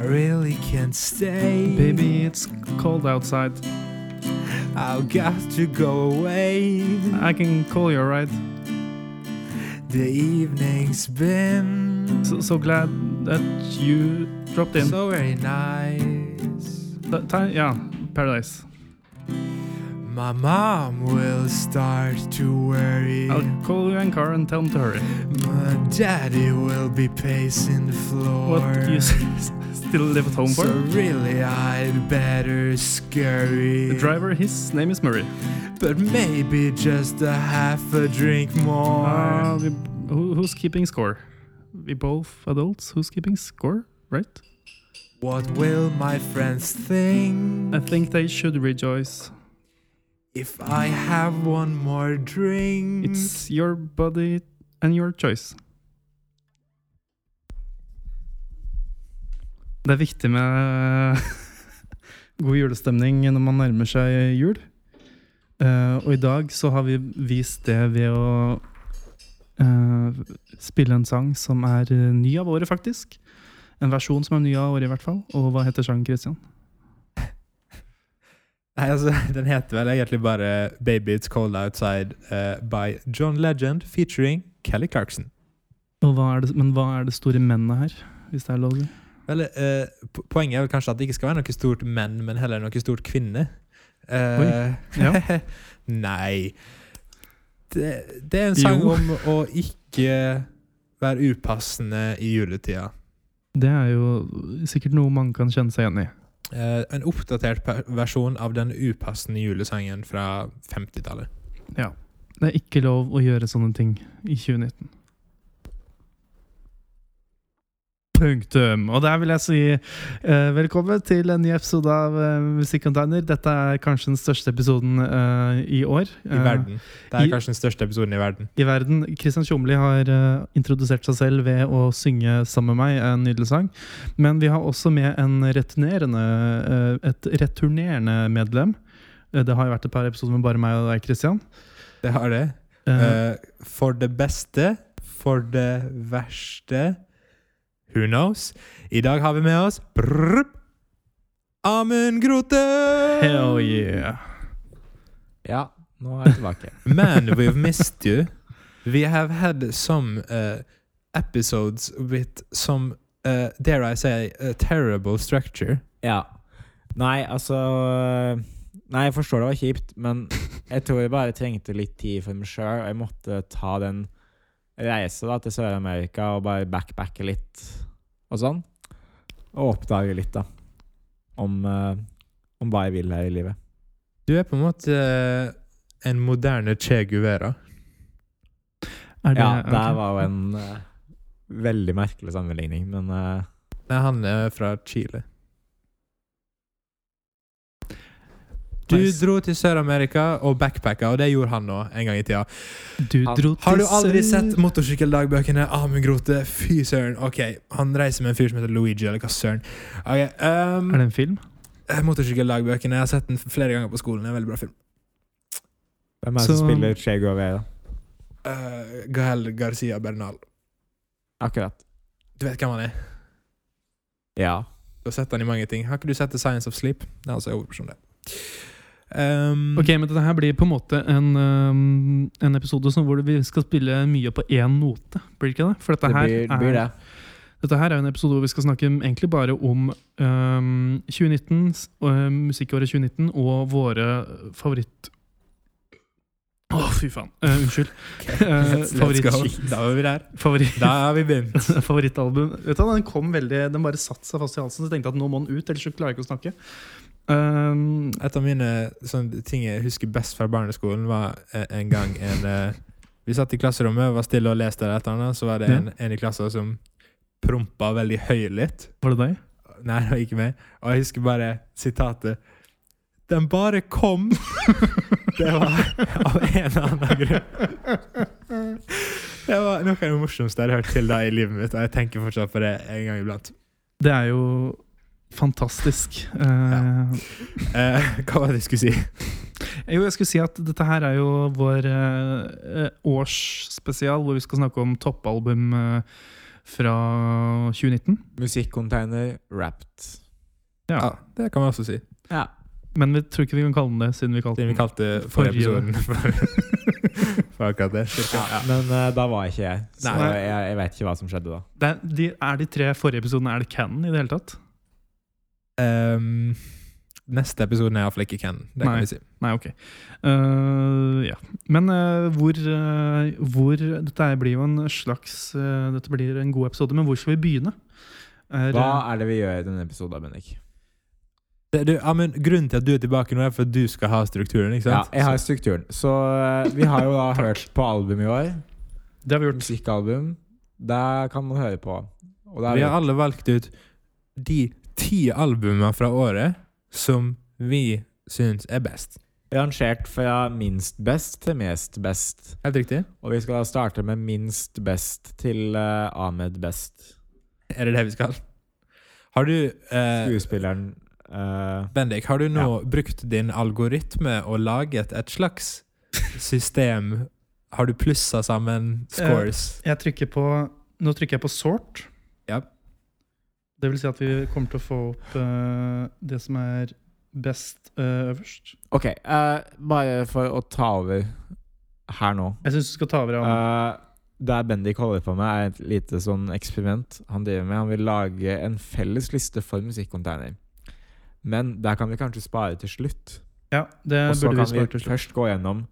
really can't stay. Baby, it's cold outside. I've got to go away. I can call you, alright? The evening's been So, so glad that you dropped in. so very nice. That time, yeah, paradise. My mom will start to worry. I'll call you Ankar and tell him to hurry. My daddy will be pacing the floor. What you s- still live at home so for? really, I'd better scurry. The driver, his name is Murray. But maybe just a half a drink more. Uh, we, who, who's keeping score? We both adults. Who's keeping score, right? what will my friends think? I think they should rejoice. If I have one more drink. It's your body and your choice. Det er viktig med god julestemning når man nærmer seg jul. Eh, og i dag så har vi vist det ved å eh, spille en sang som er eh, ny av året, faktisk. En versjon som er ny av året, i hvert fall. Og hva heter sangen, Christian? Nei, altså, Den heter vel egentlig bare 'Baby It's Cold Outside' eh, by John Legend featuring Kelly Clarkson. Og hva er det, men hva er det store mennet her, hvis det er lov? Vel, eh, po- Poenget er vel kanskje at det ikke skal være noe stort menn, men heller noe stort kvinne. Eh, ja. nei det, det er en Jo. sang om å ikke være upassende i juletida. Det er jo sikkert noe man kan kjenne seg igjen i. Eh, en oppdatert per- versjon av den upassende julesangen fra 50-tallet. Det er ikke lov å gjøre sånne ting i 2019. Punktum. Og der vil jeg si eh, velkommen til en ny episode av eh, Musikkcontainer. Dette er kanskje den største episoden eh, i år. I verden. Det er i- kanskje den største episoden i verden. I verden. Kristian Tjomli har eh, introdusert seg selv ved å synge sammen med meg en nydelig sang. Men vi har også med en returnerende, eh, et returnerende medlem. Eh, Det har jo vært et par episoder med bare meg og deg, Kristian. Det har det. Eh, for det beste, for det verste Who knows? I dag har vi med oss brrr, Amund Grote! Hell yeah. Ja, nå er jeg tilbake. Man, we've missed you. We have had some uh, episodes with some, uh, dare I say, uh, terrible structure. ja. Nei, altså Nei, jeg forstår det var kjipt, men jeg tror jeg bare trengte litt tid for meg sjøl. Og jeg måtte ta den reisa da, til Sør-Amerika og bare backpacke litt og sånn. Og oppdage litt, da. Om, eh, om hva jeg vil her i livet. Du er på en måte eh, en moderne Che Guevara. Er det, Ja, ok. det her var jo en eh, veldig merkelig sammenligning, men eh, Nei, han er fra Chile. Du Nice. dro til Sør-Amerika og backpacka, og det gjorde han nå en gang i tida. Du Han- dro Har du til aldri Sør- sett motorsykkeldagbøkene? Amund Grote, fy søren. Ok, han reiser med en fyr som heter Luigi, eller hva søren. Ok, ehm, Er det en film? eh, Motorsykkeldagbøkene, jeg har sett den flere ganger på skolen. Det er en veldig bra film. hvem er det Så- som spiller Che Guevara? Eh, Gael Garcia Bernal. Akkurat. Du vet hvem han er? Ja. Du har sett han i mange ting. Har ikke du sett The Science of Sleep? Det er altså en hovedperson der. Mm. Ehm, Ok, eh, men dette her blir på en måte en, um, en episode som hvor vi skal spille mye på én note. Blir det ikke det? For dette Det her, blir, er, blir det. Dette her er jo en episode hvor vi skal snakke egentlig bare om um, 2019, s- og, um, musikkåret 2019 og våre favoritt... Å, fy faen. Eh, unnskyld. Eh, Let's- let's favoritt, go. Da var vi der. favoritt, Da har vi begynt. favorittalbum. Vet du, hva, den kom veldig, den bare satt seg fast i halsen. Så jeg tenkte jeg at nå må den ut, ellers så klarer jeg ikke å snakke. Um, Et av mine sånn, ting jeg husker best fra barneskolen, var eh, en gang en eh, Vi satt i klasserommet og var stille og leste eller et eller annet, så var det en, en i klassen som prompa veldig høylytt. var det deg? Nei, det var ikke meg. Og jeg husker bare sitatet Den bare kom! Det var av en eller annen grunn. Det var noe av det morsomste jeg har hørt til da i livet mitt, og jeg tenker fortsatt på det en gang iblant. Det er jo fantastisk. Eh, Eh, hva var det jeg skulle si? Jo, jeg skulle si at dette her er jo vår eh, eh, årsspesial, hvor vi skal snakke om toppalbum eh, fra 2019. Musikkcontainer wrapped. Ja. Ja, det kan man også si. Ja. Men vi tror ikke vi kan kalle den det, siden vi kalte Siden vi den kalte Forrige. forrige episoden for, for akkurat det. cirka. Ja. Men eh, da var jeg ikke jeg, så Nei. jeg, jeg vet ikke hva som skjedde da. det er, de, er de tre forrige episodene Er det canon i det hele tatt? Ehm, neste episoden er iallfall ikke Ken. Det Nei. kan vi si. Nei, ok. Eh, ja. Men eh, hvor, eh, hvor Dette her blir jo en slags eh, Dette blir en god episode, men hvor skal vi begynne? Er, eh, Hva er det vi gjør i denne episoden, Bendik? Det, du, ja, men grunnen til at du er tilbake nå, er for at du skal ha strukturen. ikke Ja, sant? jeg har strukturen. Så eh, vi har jo da Takk. hørt på album i år. det har vi gjort. Musikkalbum. Det kan man høre på. Og Så det er vi har alle valgt ut de ti albumene fra året som vi syns er best. rangert fra minst best til mest best. Helt riktig? Og vi skal da starte med minst best til eh, Ahmed Best. Er det det vi skal? Har du eh, Skuespilleren eh, Bendik, har du nå brukt din algoritme og laget et slags system? Har du plussa Eh, sammen scores? Jeg trykker på Nå trykker jeg på sort. Ja. Det vil si at vi kommer til å få opp eh, det som er best eh, øverst. OK, eh, bare for å ta over her nå. Jeg syns du skal ta over. Anne. Eh, det Bendik holder på med, er et lite sånn eksperiment han driver med. Han vil lage en felles liste for musikkcontainer. Men der kan vi kanskje spare til slutt. ja, det Og så burde vi kan vi svare til slutt. først gå gjennom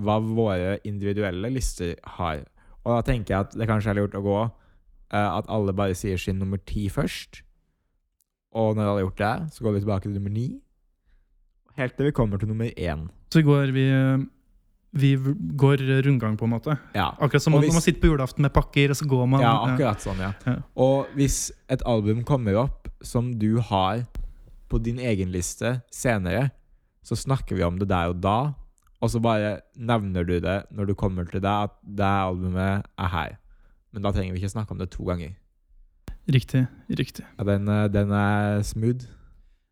hva våre individuelle lister har. Og da tenker jeg at det kanskje er lurt å gå eh, at alle bare sier sin nummer ti først. Og når alle har gjort det, så går vi tilbake til nummer ni. Helt til vi kommer til nummer én. Så går vi eh, vi v- går rundgang, på en måte. Ja. Akkurat som Og man- hvis- når man sitter på julaften med pakker, og så går man Ja, eh, akkurat sånn, ja. Ja. Og hvis et album kommer opp som du har på din egen liste senere, så snakker vi om det der og da, og så bare nevner du det når du kommer til deg at det albumet er her. Men da trenger vi ikke snakke om det to ganger. Riktig. riktig Ja, den, eh, den er smooth.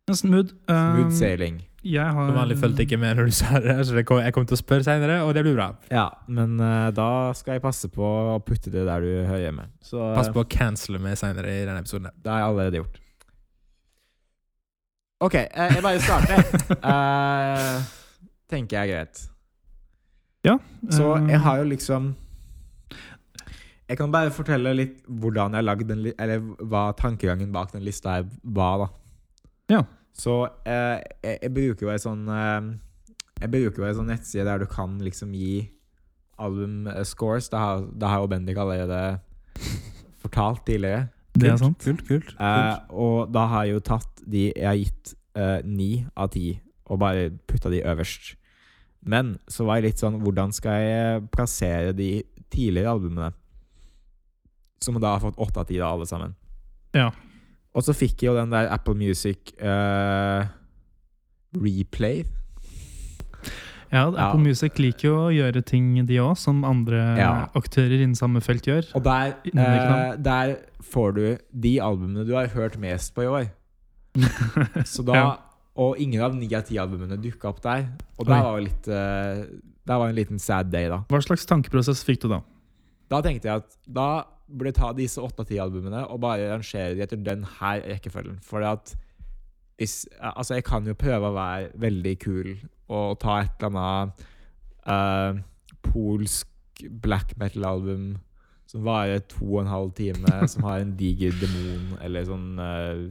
Men Smooth. Smooth eh, sailing. jeg har Som vanlig um, fulgte jeg ikke med når du sa det, så det kom, jeg kommer til å spørre seinere, og det blir bra. Ja, men eh, da skal jeg passe på å putte det der du hører hjemme. Så eh, Pass på å cancele meg seinere i denne episoden. her. Det har jeg allerede gjort. OK, eh, jeg bare starter. Eh, tenker jeg er greit. Så eh, jeg har jo liksom Jeg kan bare fortelle litt hvordan jeg lagde den li- Eller hva tankegangen bak den lista her var, da. Ja. Så eh, jeg, jeg bruker jo ei sånn eh, Jeg bruker jo ei sånn nettside der du kan liksom gi album eh, scores. Det har, det har jo Bendik allerede fortalt tidligere. Eh, Det er sant. Kult, kult. Eh, og da har jeg jo tatt de jeg har gitt eh, ni av ti, og bare putta de øverst. Men så var jeg litt sånn Hvordan skal jeg plassere de tidligere albumene? Som da har fått åtte av ti, da, alle sammen. Ja. Og så fikk jeg jo den der Apple Music eh, Replay. Ja, Apple Ja. Music liker jo å gjøre ting, de òg, som andre Ja. aktører innen samme felt gjør. Og der, Innen det eh, der får du de albumene du har hørt mest på i år. Så da, Ja. Og ingen av 9 av 10 albumene dukka opp der. Oi. Og der var jo litt eh, Der var en liten sad day, da. Hva slags tankeprosess fikk du da? Da tenkte jeg at da burde jeg ta disse 8 av 10 albumene og bare rangere de etter den her rekkefølgen. For at hvis, altså jeg kan jo prøve å være veldig kul og ta et eller annet eh, polsk black metal-album som varer to og en halv time, som har en diger demon, eller sånn eh,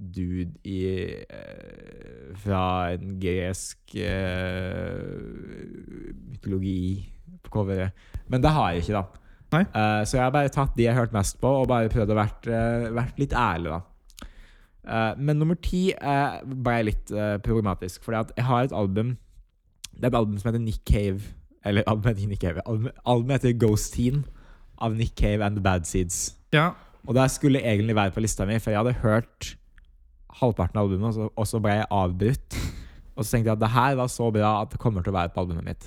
dude i eh, Fra en gresk eh, mytologi på coveret. Men det har jeg ikke, da. Nei. Eh, så jeg har bare tatt de jeg har hørt mest på, og bare prøvd å vært, eh, vært litt ærlig, da. Eh, men nummer ti eh, ble litt eh, problematisk, fordi at jeg har et album Det er et album som heter Nick Cave. Eller albumet heter ikke Nick Cave. Album- Albumet heter Ghost Teen av Nick Cave and The Bad Seeds. Ja, Og det skulle egentlig være på lista mi, for jeg hadde hørt halvparten av albumet, og så, og så ble jeg avbrutt. Og så tenkte jeg at det her var så bra at det kommer til å være på albumet mitt.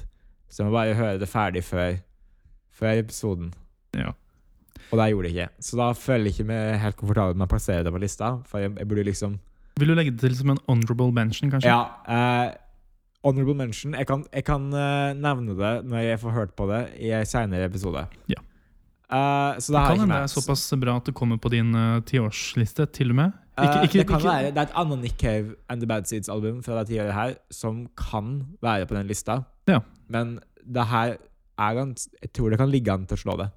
Så jeg må bare høre det ferdig før, før episoden. Ja. Og det gjorde jeg ikke. Så da føler jeg ikke meg helt komfortabel med å plassere det på lista. For jeg, jeg burde liksom Vil du legge det til som en honorable mention, kanskje? Ja. Eh, honorable mention. Jeg kan, jeg kan eh, nevne det når jeg får hørt på det i en seinere episode. Ja. Eh, så det, Det har jeg kan ikke hende det med. er såpass bra at det kommer på din eh, tiårsliste, til og med. Eh, Ikke- ikke- det kan ikke- være Det er et annet Nick Cave and The Bad Seeds-album fra det tiåret her som kan være på den lista. Ja. Men det her er gans, Jeg tror det kan ligge an til å slå det.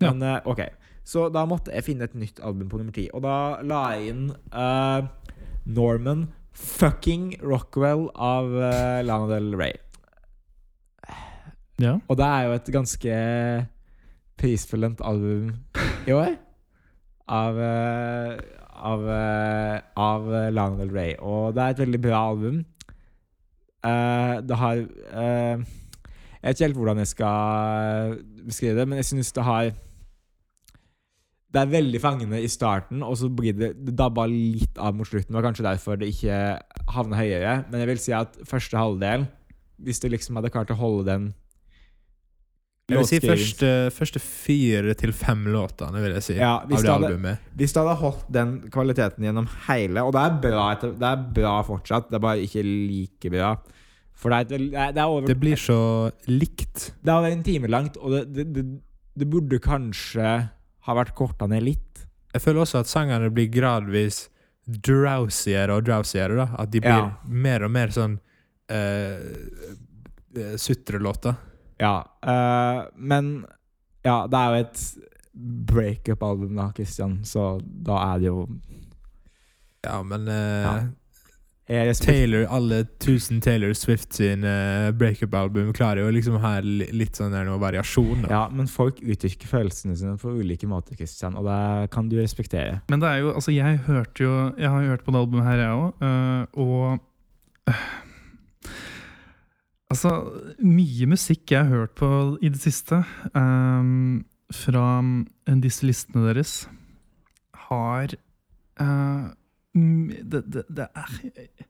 Ja. Men eh, OK. Så da måtte jeg finne et nytt album på nummer ti. Og da la jeg inn eh, Norman Fucking Rockwell av eh, Lana Del Rey. Ja. Og det er jo et ganske prisbelønt album i år. Av eh, av, eh, av eh, Lana Del Rey. Og det er et veldig bra album. Eh, det har eh, Jeg vet ikke helt hvordan jeg skal eh, beskrive det, men jeg syns det har Det er veldig fangende i starten, og så blir det, det dabba litt av mot slutten. Det var kanskje derfor det ikke havna høyere, men jeg vil si at første halvdel, hvis du liksom hadde klart å holde den Jeg vil si låtskrivinga- første, første fire til fem låtene, vil jeg si. ja, av hvis det du hadde, albumet. Hvis det hadde holdt den kvaliteten gjennom hele Og det er bra, etter, det er bra fortsatt, det er bare ikke like bra. For det er, et vel- det er, det er over Det blir så likt. Det er over en time langt, og det, det, det, det burde kanskje ha vært korta ned litt. Jeg føler også at sangene blir gradvis drowsiere og drowsiere. da At de blir Ja. mer og mer sånn uh, sutrelåter. Ja, eh, men Ja, det er jo et breakup-album, da, Christian, så da er det jo Ja, men Ja. eh, Jeg respekterer Taylor, alle tusen Taylor Swift sin eh, breakup-album klarer jo liksom å ha li- litt sånn der noe variasjon. Da. ja, men folk uttrykker følelsene sine på ulike måter, Christian, og det kan du respektere. Men det er jo, altså jeg hørte jo Jeg har jo hørt på det albumet her, jeg òg. og øh, Altså, mye musikk jeg har hørt på i det siste eh, øhm, fra øh, disse listene deres, har øh, mm, det, det, det er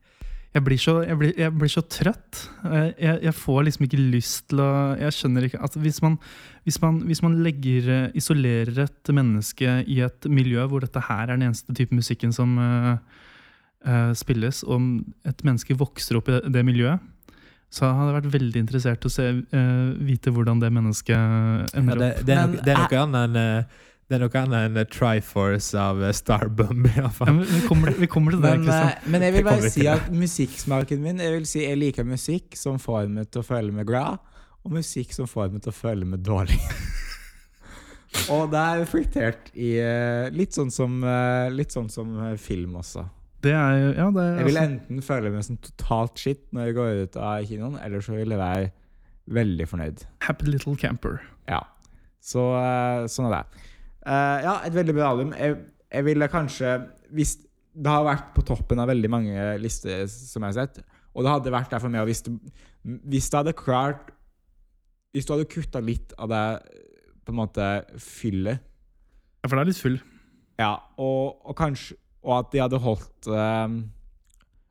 jeg blir, så, jeg, blir, jeg blir så trøtt. Eh, Jeg, jeg får liksom ikke lyst til å Jeg skjønner ikke at hvis man hvis man, hvis man legger, eh, isolerer et menneske i et miljø hvor dette her er den eneste type musikken som eh, eh, spilles, og et menneske vokser opp i det, det miljøet, så hadde jeg vært veldig interessert i å se, eh, vite hvordan det mennesket Ja, ender det, det, er Men nok- det er noe annet enn eh, Det er noe annet enn eh, Triforce av eh, Starbomb. i hvert opp. Ja, fall. men vi, kommer, til- vi kommer til det, Men, Kristian. eh, men jeg vil Det kommer bare vi si til. at musikksmaken min Jeg vil si jeg liker musikk som får meg til å føle meg glad, og musikk som får meg til å føle meg dårlig. og det er reflektert i eh, litt sånn som, eh, litt sånn som eh, film også. Det er jo ja, det er, Jeg vil altså, enten føle meg som totalt shit når jeg går ut av kinoen, eller så vil jeg være veldig fornøyd. Happy Little Camper. Ja. Så eh, sånn er det. Eh, ja, et veldig bra album. Jeg, jeg ville kanskje Hvis det har vært på toppen av veldig mange lister som jeg har sett, og det hadde vært der for meg og hvis, det- hvis det hadde klart Hvis du hadde kutta litt av det på en måte fyllet Ja, for det er litt Eh, full. ja, og, og kanskje Og at de hadde holdt eh,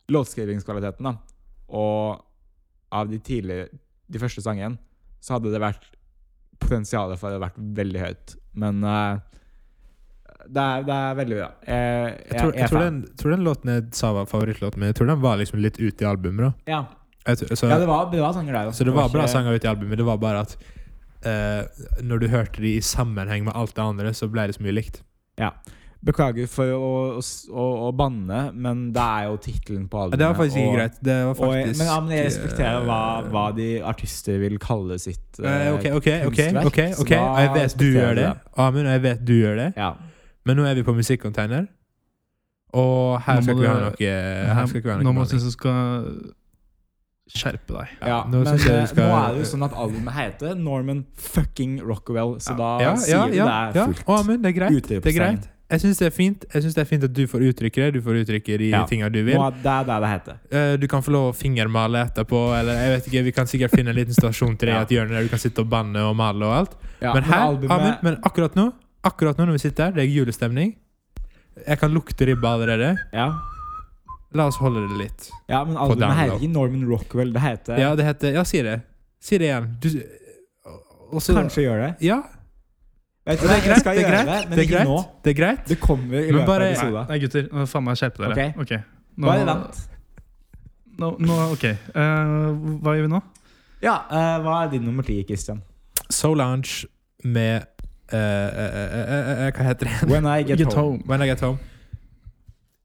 låtskrivingskvaliteten, da. Og av de tidligere De første sangene, så hadde det vært potensial for det hadde vært veldig høyt. Men eh, det, er, det er veldig bra. Jeg, jeg, Jeg tror, jeg jeg er tror, fan. den, tror den låten jeg sa var favorittlåten min, jeg tror den var liksom litt ute i albumet. da ja. jeg, tror- så, ja, det var bra sanger der. også. så det var bra ikke- sanger ute i albumet, det var bare at eh, når du hørte de i sammenheng med alt det andre, så ble det så mye likt. Beklager for å, å, å, å banne, men det er jo tittelen på Ja, albumet. det var faktisk ikke og- greit. Det var og jeg- faktisk eh, men, ja, men jeg respekterer hva, eh, hva de artister vil kalle sitt Eh, eh, ok, ok, ok, kunstverk, ok, så ok. da Og jeg vet du respekterer gjør det. Amund, og jeg vet du gjør det. Ja. Men nå er vi på musikkonteiner. Og Nå må her skal ikke vi du- ha noe Her skal ikke vi ha Nå noe behandling. må jeg synes du skal skjerpe deg. Ja, Ja, nå men synes jeg vi eh, skal- nå er det jo sånn at albumet heter Norman fucking Rockwell, så da Ja, ja, sier du ja. det ja. er fullt. Og Amund, det er greit. Utropstegn. Det er greit. Jeg syns det er fint Jeg synes det er fint at du får uttrykke det. Du får uttrykke de Ja. tinga du vil. Nå er det er det det heter. Eh, Du kan få lov å fingermale etterpå, eller jeg vet ikke, vi kan sikkert finne en liten stasjon til deg i Ja. et hjørne der du kan sitte og banne og male og alt. Ja, men her, albumet- Amund, men akkurat nå, akkurat nå når vi sitter her, det er julestemning. Jeg kan lukte ribba allerede. ja. La oss holde det litt. ja, men albumet download. heter ikke Norman Rockwell, det heter Ja, det heter Ja, si det. Si det igjen. Du og så- Kanskje gjør det. Ja, Vet du det hva, er jeg greit. skal Det er gjøre greit. det, men det er ikke greit. nå. Det er greit. Det kommer i Men løpet av bare- Nei, episoden. nei, gutter. Nå faen meg skjerpe dere. Ok. Ok. Nå, Bare vent. Nå, nå, ok. Eh, hva gjør vi nå? Ja, eh, hva er din nummer ti, Christian? Solange med eh, eh, eh, eh, Hva heter det? When I get, Get home. home. When I Get Home.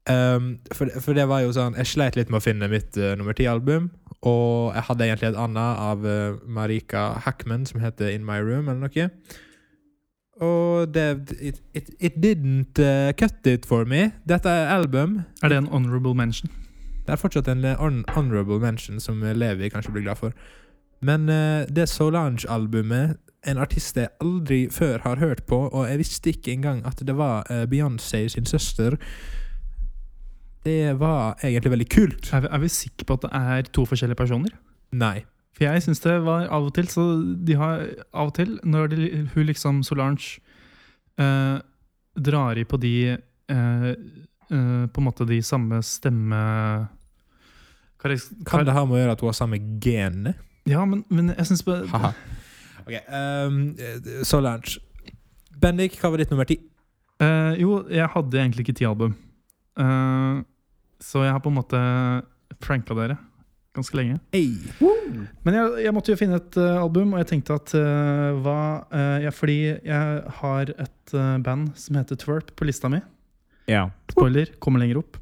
Ehm, for, for det var jo sånn Jeg sleit litt med å finne mitt eh, nummer ti-album. Og jeg hadde egentlig et annet av eh, Marika Hackman som heter In My Room, eller noe. Og det It, it, it didn't eh, cut it for me. Dette er album. Er det en honorable mention? Det er fortsatt en eh, hon- honorable mention som eh, Levi kanskje blir glad for. Men eh, det Solange-albumet En artist jeg aldri før har hørt på, og jeg visste ikke engang at det var eh, Beyoncé sin søster. Det var egentlig veldig kult. Er vi, er vi sikre på at det er to forskjellige personer? Nei. For jeg syns det var av og til så de har Av og til, når de, hun liksom Solange eh, drar i på de eh, eh, På en måte de samme stemme... karak- Kan det ha med å gjøre at hun har samme genene? Ja, men, men jeg syns bare Haha. Ok, ehm, eh, Solange. Bendik, hva var ditt nummer ti? Eh, jo, jeg hadde egentlig ikke ti album. Eh, så jeg har på en måte pranka dere ganske lenge. Hey. Men jeg, jeg måtte jo finne et eh, album, og jeg tenkte at eh, hva eh, jeg, Fordi jeg har et eh, band som heter Twerp på lista mi. Ja. Spoiler, kommer lenger opp.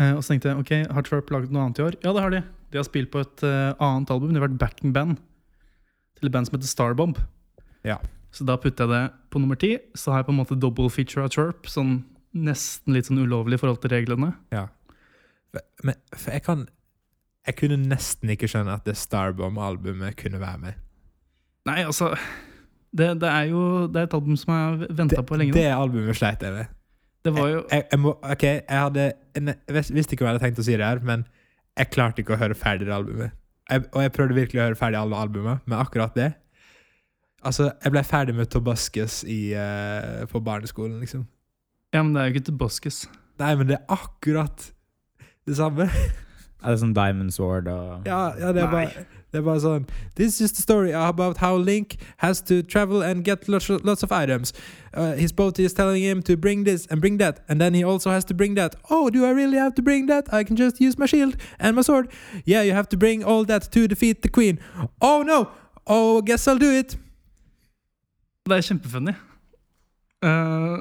Eh, og så tenkte jeg ok, har Twerp laget noe annet i år? Ja, det har de. De har spilt på et eh, annet album. De har vært backing band til et band som heter Starbomb. Ja. Så da putter jeg det på nummer ti. Så har jeg på en måte double feature av Twerp. Sånn nesten litt sånn ulovlig i forhold til reglene. Men for jeg kan Jeg kunne nesten ikke skjønne at det Starbomb-albumet kunne være med. Nei, altså Det, det er jo det er et album som jeg har venta på lenge. det nå. albumet sleit jeg med. det var jo Jeg, jeg må, ok, jeg hadde en, jeg vis- visste ikke hva jeg hadde tenkt å si det her, men jeg klarte ikke å høre ferdig det albumet. Jeg, og jeg prøvde virkelig å høre ferdig alle albumene, men akkurat det Altså, jeg ble ferdig med Tobascus i, eh, på barneskolen, liksom. Ja, men det er jo ikke til Boskes. Nei, men det er akkurat det samme. Er det sånn Diamond Sword og Ja, ja det, er Nei. bare, det er bare sånn This is the story about how Link has to travel and get lots, lots of items. Uh, his boat is telling him to bring this and bring that, and then he also has to bring that. Oh, do I really have to bring that? I can just use my shield and my sword. Yeah, you have to bring all that to defeat the queen. Oh no! Oh, guess I'll do it. Det er kjempefunny. Eh,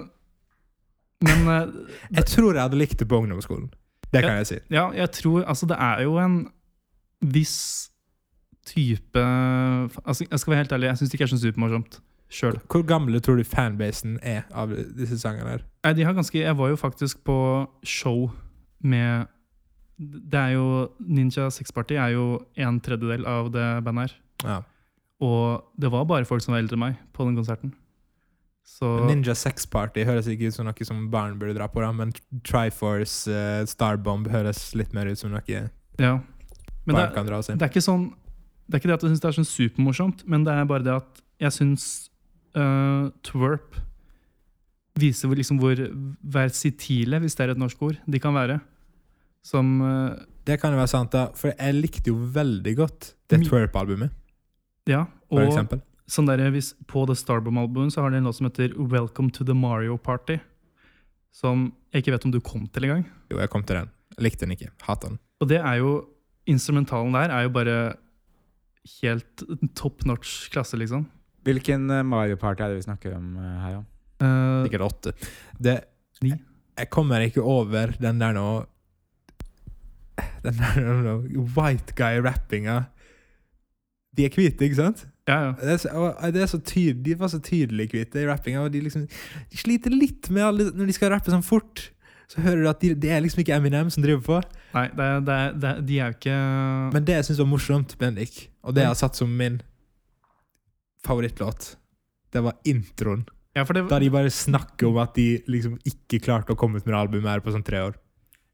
men eh, Jeg tror jeg hadde likt det på ungdomsskolen. Det kan jeg si. Ja, jeg tror Altså, det er jo en viss type altså, Jeg skal være helt ærlig, jeg syns det ikke er så supermorsomt sjøl. Hvor gamle tror du fanbasen er av disse sangene her? Nei, de har ganske Jeg var jo faktisk på show med Det er jo Ninja Sex Party er jo en tredjedel av det bandet her. Ja. Og det var bare folk som var eldre enn meg på den konserten. Så Ninja Sex Party høres ikke ut som noe som barn burde dra på, da, men Triforce, eh, Starbomb høres litt mer ut som noe Ja. Men det, barn kan dra og se. Det er ikke sånn Det er ikke det at jeg syns det er sånn supermorsomt, men det er bare det at jeg syns øh, twerp viser hvor, liksom hvor versitile, hvis det er et norsk ord, de kan være. Som øh, Det kan jo være sant, da, for jeg likte jo veldig godt det Mi- Twerp-albumet, Ja. for Mm. Og eksempel. sånn der, hvis, på The Starbomb-albumet så har de en låt som heter Welcome to the Mario Party. Som jeg ikke vet om du kom til engang. Jo, jeg kom til den. Jeg likte den ikke. Hata den. Og det er jo Instrumentalen der er jo bare helt top notch klasse, liksom. Hvilken eh, Mario Party er det vi snakker om eh, her, da? Eh, Sikkert åtte. Det, Ni. jeg kommer ikke over den der nå Den der nå white guy-rappinga. De er hvite, ikke sant? ja, ja. Det er så, og det er så tyd, de var så tydelige hvite i rappinga, og de, liksom, de sliter litt med alle Når de skal rappe sånn fort, så hører du at de, det er liksom ikke Eminem som driver på. Nei, det, er- det, er- det, er- de er jo ikke Men det jeg syns var morsomt, Bendik, og det jeg har satt som min favorittlåt, det var introen. ja, for det, Da de bare snakker om at de liksom ikke klarte å komme ut med det albumet her på sånn tre år.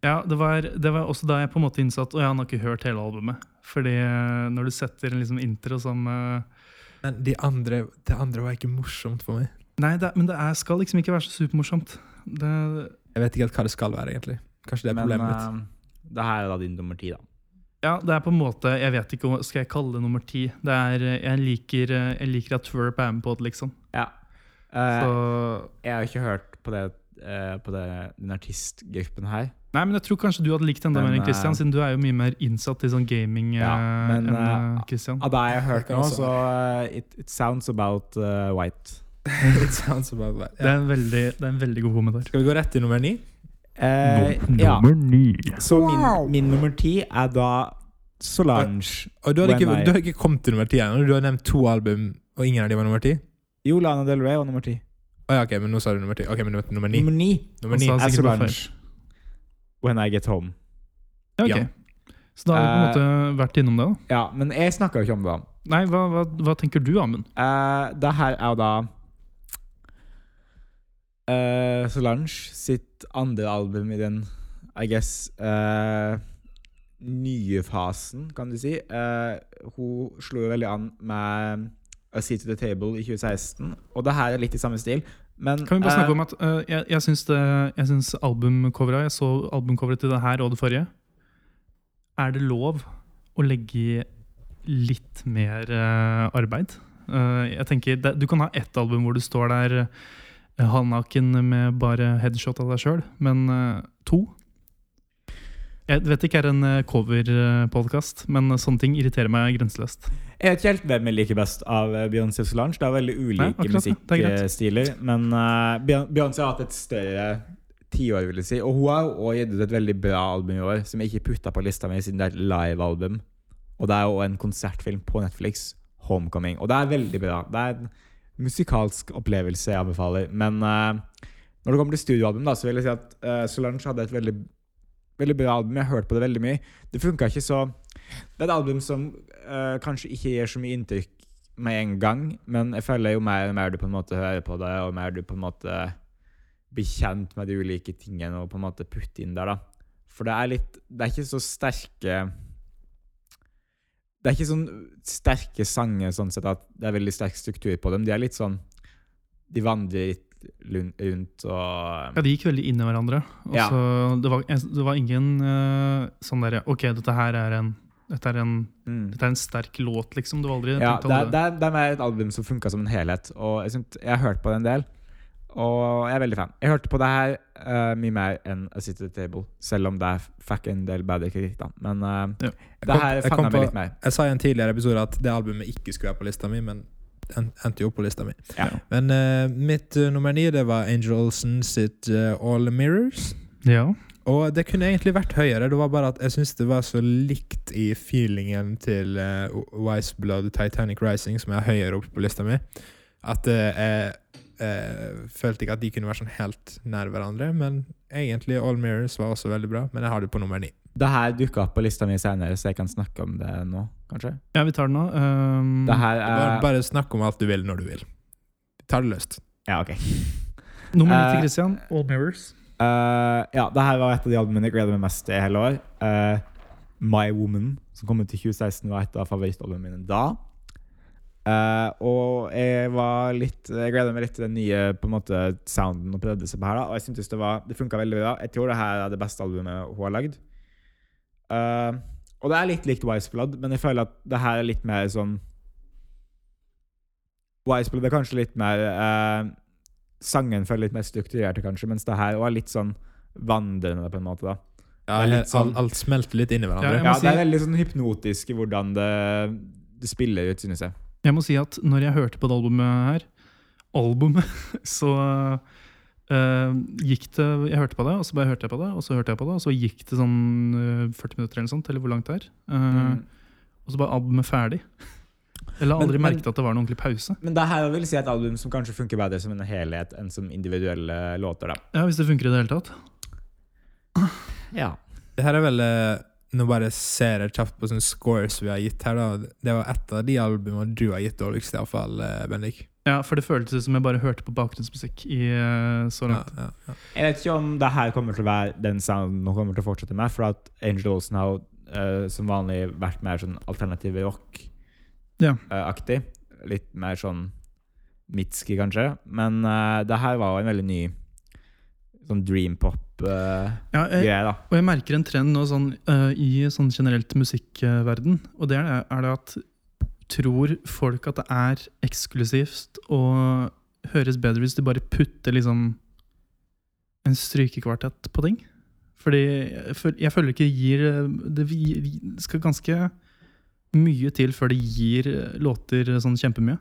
ja, det, var, det var også da jeg på en måte innså at «Å, jeg har nok ikke hørt hele albumet. Fordi eh, når du setter en liksom intro som eh, Men de andre, det andre var ikke morsomt for meg. Nei, det, er- men det er, skal liksom ikke være så supermorsomt. Det, Jeg vet ikke helt hva det skal være, egentlig. Kanskje det er Men problemet mitt. eh, det her er da din nummer ti, da. ja, det er på en måte Jeg vet ikke hva skal jeg kalle det nummer ti. Det er, eh, jeg, liker, eh, jeg liker at Twerp er med på det, liksom. Ja. Eh, Så, jeg har ikke hørt på det eh, på det, den artistgruppen her. nei, men jeg tror kanskje du hadde likt det enda mer Men, enn Christian, eh, siden du er jo mye mer innsatt i sånn gaming Ja, eh, men, enn eh, eh, Christian. Av det jeg har hørt Jeg nå, kan også- så eh, it, it sounds about eh, white. It sounds about right. Det sånn Ja. er en veldig, det er en veldig god kommentar. Skal vi gå rett til nummer ni? Eh, ja. ni. Så min, min nummer ti er da Solange. Og du har ikke, When I- du har ikke kommet til nummer ti ennå. Du har nevnt to album, og ingen av dem var nummer ti? Jo, Lana Del Rey var nummer ti. Å ja, ok, men nå sa du nummer ti. Ok, men nummer- nummer ni. Nummer ni Nummer Altså, ni. altså- er sikkert bare Solange. When I Get Home. Ja, ok. Ja. Så da har vi på en måte vært innom det, da. Ja, men jeg snakka jo ikke om det. da. Nei, hva, hva, hva tenker du, Amund? Eh, det her er jo da eh, Solange sitt andre album i den, I guess, eh, nye fasen, kan du si. Eh, hun slo jo veldig an med A Seat to the Table i 2016, og det her er litt i samme stil. Men Kan vi bare eh, snakke om at eh, jeg, jeg syns, det, jeg syns albumcoveret Jeg så albumcoveret til det her og det forrige. Er det lov å legge i litt mer eh, arbeid? Eh, jeg tenker, det, Du kan ha ett album hvor du står der eh, halvnaken med bare headshot av deg sjøl, men eh, to Jeg vet ikke er en eh, coverpodkast, men eh, sånne ting irriterer meg grenseløst. Jeg vet ikke helt hvem jeg liker best av eh, Beyoncé og Solange. Det er veldig ulike Nei, akkurat det. Det er greit. musikkstiler. Men eh, Bey- Beyoncé har hatt et større tiår, vil jeg si. Og hun har jo også gitt ut et veldig bra album i år, som jeg ikke putta på lista mi, siden det er et livealbum. Og det er jo en konsertfilm på Netflix, 'Homecoming'. Og det er veldig bra. Det er en musikalsk opplevelse jeg anbefaler. Men eh, når det kommer til studioalbum, da, så vil jeg si at eh, Solange hadde et veldig, veldig bra album. Jeg har hørt på det veldig mye. Det funka ikke så Det er et album som eh, kanskje ikke gjør så mye inntrykk med en gang, men jeg føler jo mer og mer du på en måte hører på det, og mer du på en måte blir kjent med de ulike tingene og på en måte putter inn der, da. For det er litt Det er ikke så sterke Det er ikke sånn sterke sanger sånn sett at det er veldig sterk struktur på dem. De er litt sånn De vandrer litt lun- rundt og Ja, de gikk veldig inn i hverandre. Og Ja. så det, var, jeg- det var ingen eh, sånn derre Ok, dette her er en dette er, en, mm. dette er en sterk låt, liksom. Du har aldri Ja, tenkt det, over er- det, er- det er mer et album som funka som en helhet. Og jeg, synt, jeg har hørt på det en del, og jeg er veldig fan. Jeg hørte på det her eh, mye mer enn A City Table, selv om det er fikk en del bedre kritikk, da. Men eh, Ja. kom- det her jeg kom fanga meg på- litt mer. Jeg sa i en tidligere episode at det albumet ikke skulle være på lista mi, men en- endte jo opp på lista mi. Ja. Men eh, mitt eh, nummer ni det var Angel Olsen sitt eh, All Mirrors. Ja. Og det kunne egentlig vært høyere, det var bare at jeg syns det var så likt i feelingen til eh, Wise Blood Titanic Rising, som er høyere opp på lista mi, at eh, jeg eh, følte ikke at de kunne være sånn helt nær hverandre. Men egentlig All Mirrors var også veldig bra, men jeg har det på nummer ni. Det her dukka opp på lista mi senere, så jeg kan snakke om det nå, kanskje. ja, vi tar den nå. Um, Det her Mm. Bare, er bare snakk om alt du vil, når du vil. Ta det løst. Ja, OK. Nummer ni eh, til Christian. Old Mirrors. Eh, ja, det her var et av de albumene jeg gleder meg mest til i hele år. Eh, My Woman, som kom ut i 2016, var et av favorittalbumene mine da. Eh, og jeg var litt Jeg gleder meg litt til den nye på en måte, sounden og prøvde seg på her. da Og jeg syntes det, var- det funka veldig bra. Jeg tror det her er det beste albumet hun har lagd. Eh, og det er litt likt Wise Blood, men jeg føler at det her er litt mer sånn Wise Blood er kanskje litt mer eh, sangen føler litt mer strukturerte, kanskje, mens det her også er litt sånn vandrende, på en måte. da. Ja, Det er he- litt sånn- alt, alt smelter litt inn i Ja, hverandre. må Ja, si- Det er veldig sånn hypnotisk i hvordan det, det spiller ut, synes jeg. Jeg må si at når jeg hørte på det albumet her, albumet, så eh, gikk det Jeg hørte på det, og så bare hørte jeg på det, og så hørte jeg på det, og så gikk det sånn eh, 40 minutter eller noe sånt, eller hvor langt det er. Eh, Mm. Og så bare albumet ferdig. Eller Men- aldri men- merket at det var noen ordentlig pause. Men det her vil si et album som kanskje funker bedre som en helhet enn som individuelle låter. da. Ja, Hvis det funker i det hele tatt. Ja. Det her er vel eh, Nå bare ser jeg kjapt på sånne scores vi har gitt her. da Det var ett av de albumene du har gitt dårligst, iallfall, eh, Bendik. Ja, For det føltes ut som jeg bare hørte på bakgrunnsmusikk i eh, så Ja, langt. ja, ja. Jeg vet ikke om det her kommer til å være den sounden hun kommer til å fortsette med, for at Angel Olsen har jo eh, som vanlig vært mer sånn alternativ Ja. rock-aktig. Litt mer sånn Mitski, kanskje. Men eh, det her var jo en veldig ny sånn dream pop-greie, Ja, eh, jeg, da. og jeg merker en trend nå sånn, eh, i sånn generelt musikkverden, og det er det, er det at tror folk at det er eksklusivt og høres bedre hvis de bare putter liksom en strykekvartett på ting. Fordi jeg føl- jeg føler ikke det gir Det vi- skal ganske mye til før det gir låter sånn kjempemye.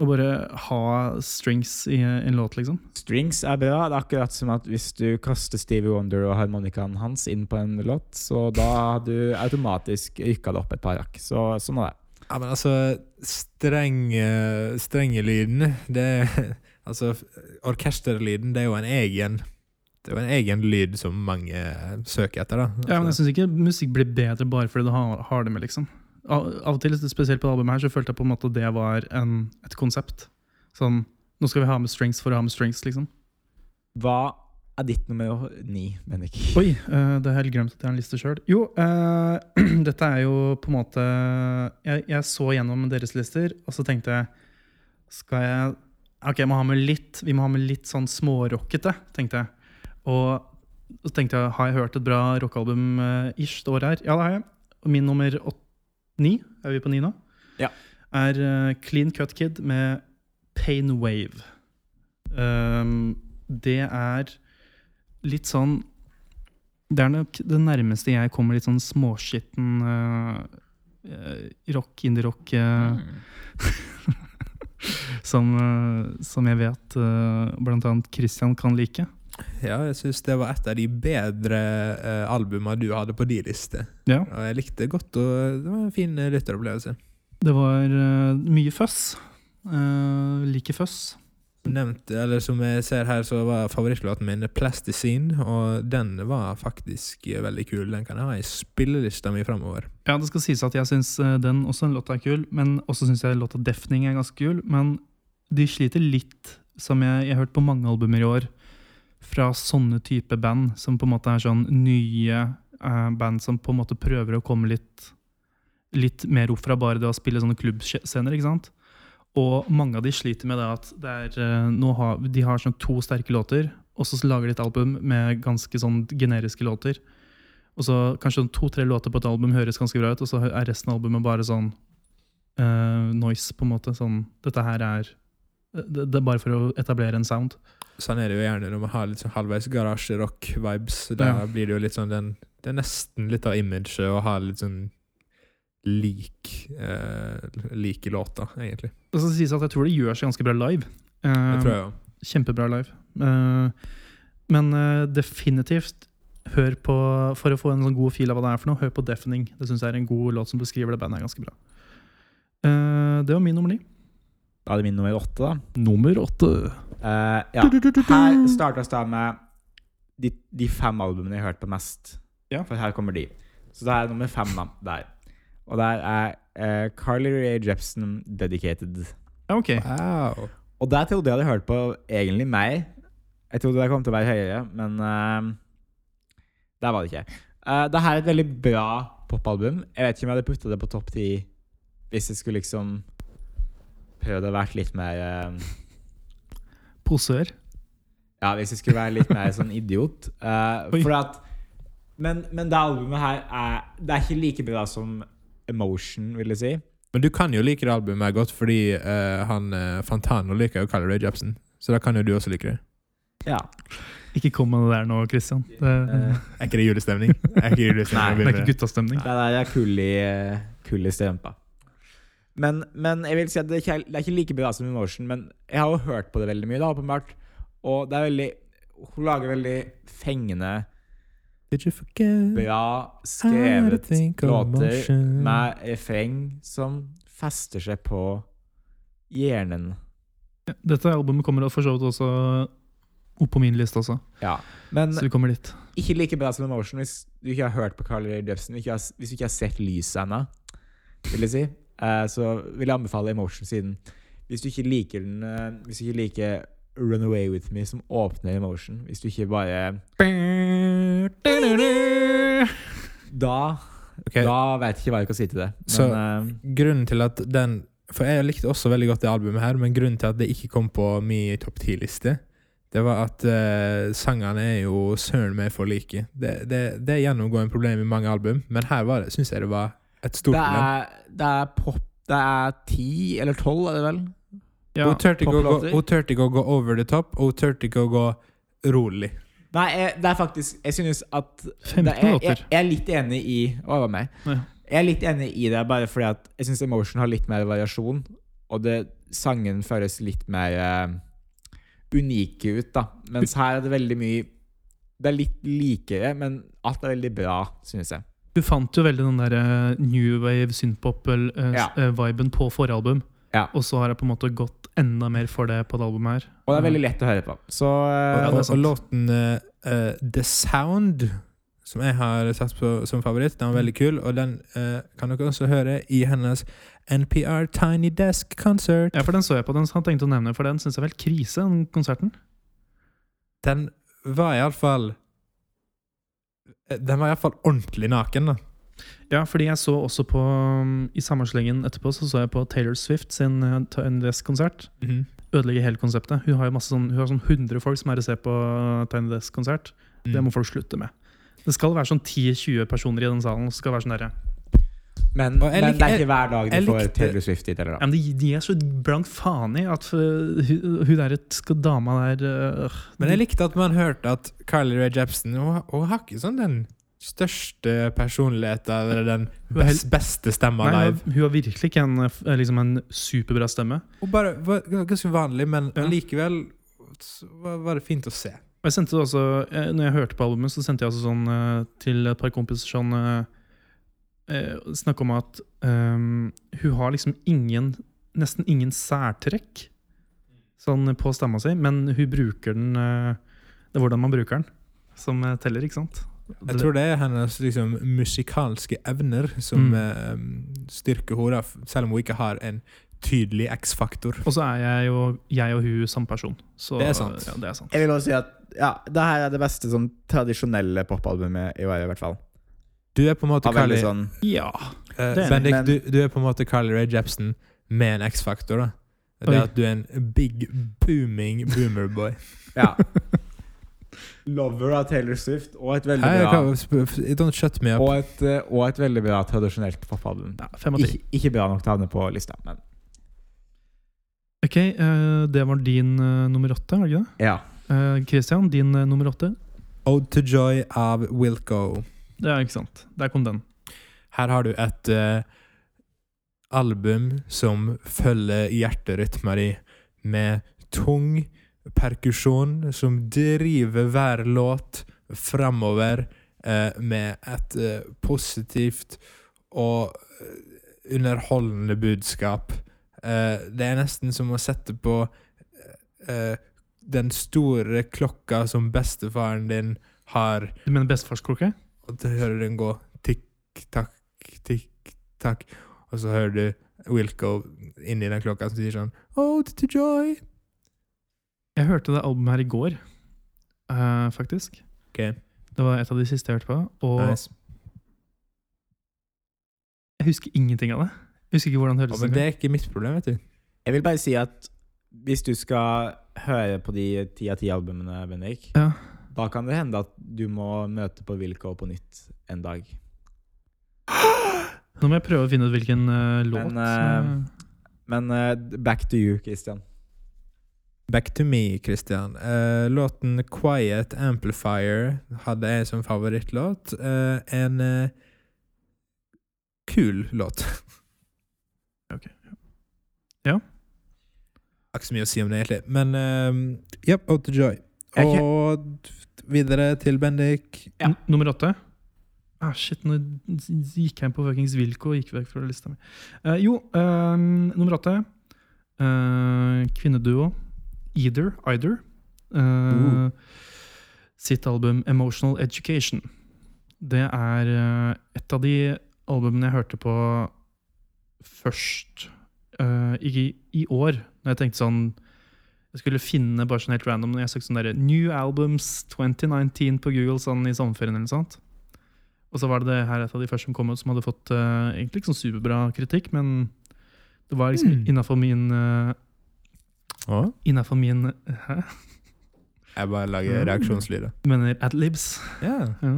Å bare ha strings i en låt, liksom. Strings er bra. Det er akkurat som at hvis du kaster Stevie Wonder og harmonikaen hans inn på en låt, så da har du automatisk rykka det opp et par hakk. Så sånn er det. Ja, men altså, streng, eh, strengelyden det, Altså, f- orkesterlyden, det er jo en egen Det er jo en egen lyd som mange søker etter, da. Altså, Ja, men jeg syns ikke musikk blir bedre bare fordi du har, har det med, liksom. Av, av og til, spesielt på det albumet her, så følte jeg på en måte at det var en, et konsept. Sånn Nå skal vi ha med strings for å ha med strings, liksom. Hva er ditt nummer ni, Bendik? Oi, eh, det er helt glemt at jeg har en liste sjøl. Jo, eh, dette er jo på en måte jeg, jeg så gjennom deres lister, og så tenkte jeg Skal jeg Ok, jeg må ha med litt vi må ha med litt sånn smårockete, tenkte jeg. Og så tenkte jeg, har jeg hørt et bra rockealbum eh, ish det året her? Ja, det har jeg. Og min nummer åt, ni, er vi på ni nå? Ja. Er eh, Clean Cut Kid med Pain Wave. Um, det er litt sånn det er nok det nærmeste jeg kommer litt sånn småskitten eh, eh, rock, indie-rock, eh, Mm. som, eh, som jeg vet eh, blant annet Christian kan like. ja, jeg syns det var et av de bedre uh, albuma du hadde på de liste. Ja. Og jeg likte godt, og det var en fin eh, lytteropplevelse. Det var eh, mye føss. Uh, like føss. Nevnt, eller som jeg ser her, så var favorittlåten min Plasticine, og den var faktisk eh, veldig kul. Den kan jeg ha i spillelista mi framover. Ja, det skal sies at jeg syns eh, den også en låta er kul, men også syns jeg låta Deafening er ganske kul. Men de sliter litt, som jeg, jeg har hørt på mange albumer i år, fra sånne type band, som på en måte er sånn nye eh, band som på en måte prøver å komme litt, litt mer opp fra bare det å spille sånne klubbscener, ikke sant? Og mange av de sliter med det at det er, eh, nå har, de har sånn to sterke låter, og så lager de et album med ganske sånn generiske låter. Og så kanskje sånn to-tre låter på et album høres ganske bra ut, og så er resten av albumet bare sånn eh, noise, på en måte. Sånn, dette her er det, det er bare for å etablere en sound. Sånn er det jo gjerne når man har litt sånn halvveis garasjerock-vibes. Da Ja. blir det jo litt sånn den, Det er nesten litt av imaget å ha litt sånn lik eh, like låter, egentlig. Og så sies det at jeg tror det gjør seg ganske bra live. Det Eh, tror jeg òg. Kjempebra live. Eh, men eh, definitivt hør på, for å få en sånn god feel av hva det er for noe, hør på Deafening. Det syns jeg er en god låt som beskriver det bandet ganske bra. Eh, det var min nummer ni. Da er det min nummer åtte, da. Nummer åtte. Eh, ja. Her startes det med de, de fem albumene jeg hørte på mest. Ja. For her kommer de. Så det er nummer fem, da. Der. Og der er eh, Carly Rae Jepsen, 'Dedicated'. Ja, ok. Wow. Og der trodde jeg hadde hørt på egentlig mer. Jeg trodde det kom til å være høyere, men eh, der var det ikke. Uh, det her er et veldig bra popalbum. Jeg vet ikke om jeg hadde putta det på topp ti hvis jeg skulle liksom prøvd å være litt mer eh, Posør. Ja, hvis jeg skulle være litt mer sånn idiot. Eh, Oi. for at men, men det albumet her er Det er ikke like bra som Emotion, vil jeg si. Men du kan jo like det albumet her godt, fordi eh, han eh, Fantano liker jo Carly Rae Jepsen. Så da kan jo du også like det. Ja. Ikke kom med det der nå, Christian. Det, Eh, Er ikke det julestemning? Er ikke det julestemning å det er begynne ikke med det? guttastemning. Det der er kull i, kull i strømpa. Men, men jeg vil si at det er, ikke, det er ikke like bra som Emotion, men jeg har jo hørt på det veldig mye, da, åpenbart. Og det er veldig Hun lager veldig fengende, Did you forget? bra I skrevet think of låter motion. med refreng som fester seg på hjernen. Dette albumet kommer for så vidt også opp på min liste også, Ja. Men så vi kommer dit. ikke like bra som Emotion hvis du ikke har hørt på Carl Ray Jepsen, ikke har- hvis du ikke har sett lyset ennå, vil jeg si. Eh, så vil jeg anbefale Emotion siden. Hvis du ikke liker den eh, Hvis du ikke liker Run Away With Me som åpner Emotion, hvis du ikke bare Da Ok. Da vet jeg ikke hva jeg kan si til det. Men Så- eh, grunnen til at den For jeg likte også veldig godt det albumet her, men grunnen til at det ikke kom på min topp ti-liste, det var at eh, sangene er jo søren meg for like. Det, det, det er gjennomgående problem i mange album, men her var det, syns jeg det var et stort det, problem. er, det er pop Det er ti eller tolv, er det vel? Ja, hun turte ikke å gå- poplåter. hun turte ikke å gå over the top, og hun turte ikke å gå rolig. Nei, jeg, det er faktisk Jeg synes at 15 Det- jeg, jeg, låter. jeg er litt enig i Å, det var meg. Ja. Jeg er litt enig i det, bare fordi at jeg syns Emotion har litt mer variasjon. og det, sangen føles litt mer eh, unike ut, da. Mens her er det veldig mye Det er litt likere, men alt er veldig bra, synes jeg. Du fant jo veldig den der eh, new wave eh, synthpop-viben Ja. på forrige album. Ja. Og så har jeg på en måte gått enda mer for det på det albumet her. Og det er veldig lett å høre på. Så eh, Ja, Og, det er og, sant. låten eh, eh, The Sound, som jeg har satt på som favoritt, den var veldig kul. Og den eh, kan dere også høre i hennes NPR Tiny Desk Concert. Ja, for den så jeg på, den han tenkte å nevne, for den syns jeg var helt krise, den konserten. Den var iallfall Den var iallfall ordentlig naken, da. Ja, fordi jeg så også på um, I samme slengen etterpå så så jeg på Taylor Swift sin eh, Ta- NDS-konsert. Mhm. Ødelegge hele konseptet. Hun har jo masse sånn, hun har sånn 100 folk som er og ser på Tiny Desk-konsert. Det må folk slutte med. Det skal være sånn 10-20 personer i den salen. og Så skal det være sånn derre men, Og jeg men lik- det er jeg- ikke hver dag jeg du får likte- Taylor Swift hit, eller ja, da. men de, de er så blank faen i at øh, hun, hun der skal dama der øh, Men jeg likte at man hørte at Carly Rae Jepsen Hun, hun har ikke sånn den største personligheten eller den Hun er best, beste stemma Nei, hun live. har- hun har virkelig ikke en, øh, liksom en superbra stemme. Hun bare var ganske vanlig, men Ja. likevel så var var det fint å se. Og jeg sendte det også, eh, når jeg hørte på albumet, så sendte jeg altså sånn eh, til et par kompiser sånn eh, eh, Snakk om at eh, hun har liksom ingen Nesten ingen særtrekk sånn på stemma si, men hun bruker den eh, Det er hvordan man bruker den, som eh, teller, ikke sant? Jeg tror det er hennes liksom, musikalske evner som eh, styrker henne, da, f- selv om hun ikke har en tydelig X-faktor. Og så er jeg, jo, jeg og hun samme person. Så, Det er sant. Ja, det er sant. Jeg vil også si at ja, det her er det beste sånn tradisjonelle popalbumet i år, i hvert fall. Du er på en måte Av veldig Carly sånn Ja. eh, det er- Bendik, men- du, du er på en måte Carly Rae Jepsen med en X-faktor. da. Det Oi. at du er en big, booming boomerboy. Ja. Lover av Taylor Swift og et veldig Hei, bra hva- sp- f- Don't shut me up. og et, eh, og et veldig bra tradisjonelt popalbum. ja fem av ti. Ikke, ikke bra nok til å havne på lista, men Ok, eh, det var din eh, nummer åtte, var det ikke det? ja. Eh, Christian, din eh, nummer åtte? Ode to Joy av Wilco. Ja, ikke sant. Der kom den. Her har du et eh, album som følger hjerterytmer i, med tung perkusjon som driver hver låt framover eh, med et eh, positivt og eh, underholdende budskap. Eh, det er nesten som å sette på eh, den store klokka som bestefaren din har Du mener bestefarsklokke? og så hører du den gå tikk, takk, tikk, takk. Og så hører du Wilco inni den klokka som sier sånn Ode to joy. Jeg hørte det albumet her i går, eh, faktisk. Ok. Det var et av de siste jeg hørte på. Og Nice. jeg husker ingenting av det. Jeg husker ikke hvordan det Ja, høres men det ut. er ikke mitt problem, vet du. Jeg vil bare si at hvis du skal høre på de ti av ti albumene, Bendik, Ja. da kan det hende at du må møte på Wilco på nytt en dag. Nå må jeg prøve å finne ut hvilken eh, låt. Men, som- Men eh, back to you, Christian. Back to me, Christian. Eh, låten Quiet Amplifier hadde jeg som favorittlåt. Eh, en eh, kul låt. Ok, ja. Ja. Har ikke så mye å si om det, egentlig. Men eh, ja, Ode to joy. Jeg kan- Og videre til Bendik. ja. N- Nummer åtte. Ah, shit, nå gikk jeg inn på fuckings Wilco og gikk vekk fra lista mi. Eh, jo, eh, nummer åtte. Eh, kvinneduo Either, Either. Eh, Uh. Sitt album Emotional Education. Det er eh, et av de albumene jeg hørte på først eh, i, i år. Når jeg tenkte sånn Jeg skulle finne bare sånn helt random når jeg søkte sånn derre New Albums 2019 på Google sånn i sommerferien eller noe sånt. Og så var det det her et av de første som kom ut, som hadde fått eh, egentlig ikke sånn superbra kritikk, men det var liksom Mm. innafor min eh, Innenfor min eh, Hæ? Jeg bare Mm. lager reaksjonslyder. Du mener adlibs? Ja. Ja.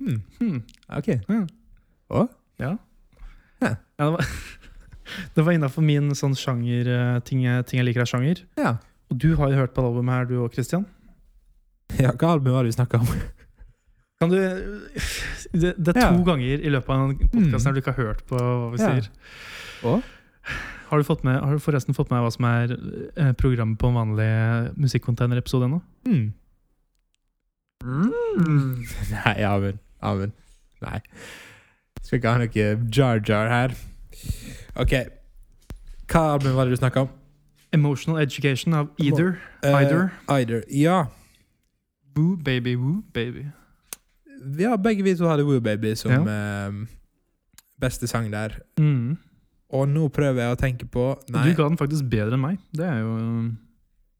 Hmm. Hmm. Ok. Ja. Å? Ja. Hæ. ja det var, det var innafor min sånn sjanger eh, ting, jeg- ting jeg liker av sjanger. Ja. Og du har jo hørt på det albumet her, du òg, Christian. ja hva album var det vi snakka om? Kan du Det, det er to Ja. ganger i løpet av en podkast Mm. her du ikke har hørt på hva vi Ja. sier. Å? Har du, fått med, har du forresten fått med hva som er eh, programmet på en vanlig eh, musikkonteiner-episode ennå? Mm. Nei, ja vel. Ja vel. Nei. Skal ikke ha noe jar-jar her. OK. Hva album var det du snakka om? Emotional Education av Either. Eh, Either. Either. Ja. Woo baby, woo baby. ja, begge vi to hadde Woo Baby som eh, beste sang der. Mm. Og nå prøver jeg å tenke på Nei, Du ga den faktisk bedre enn meg. Det er jo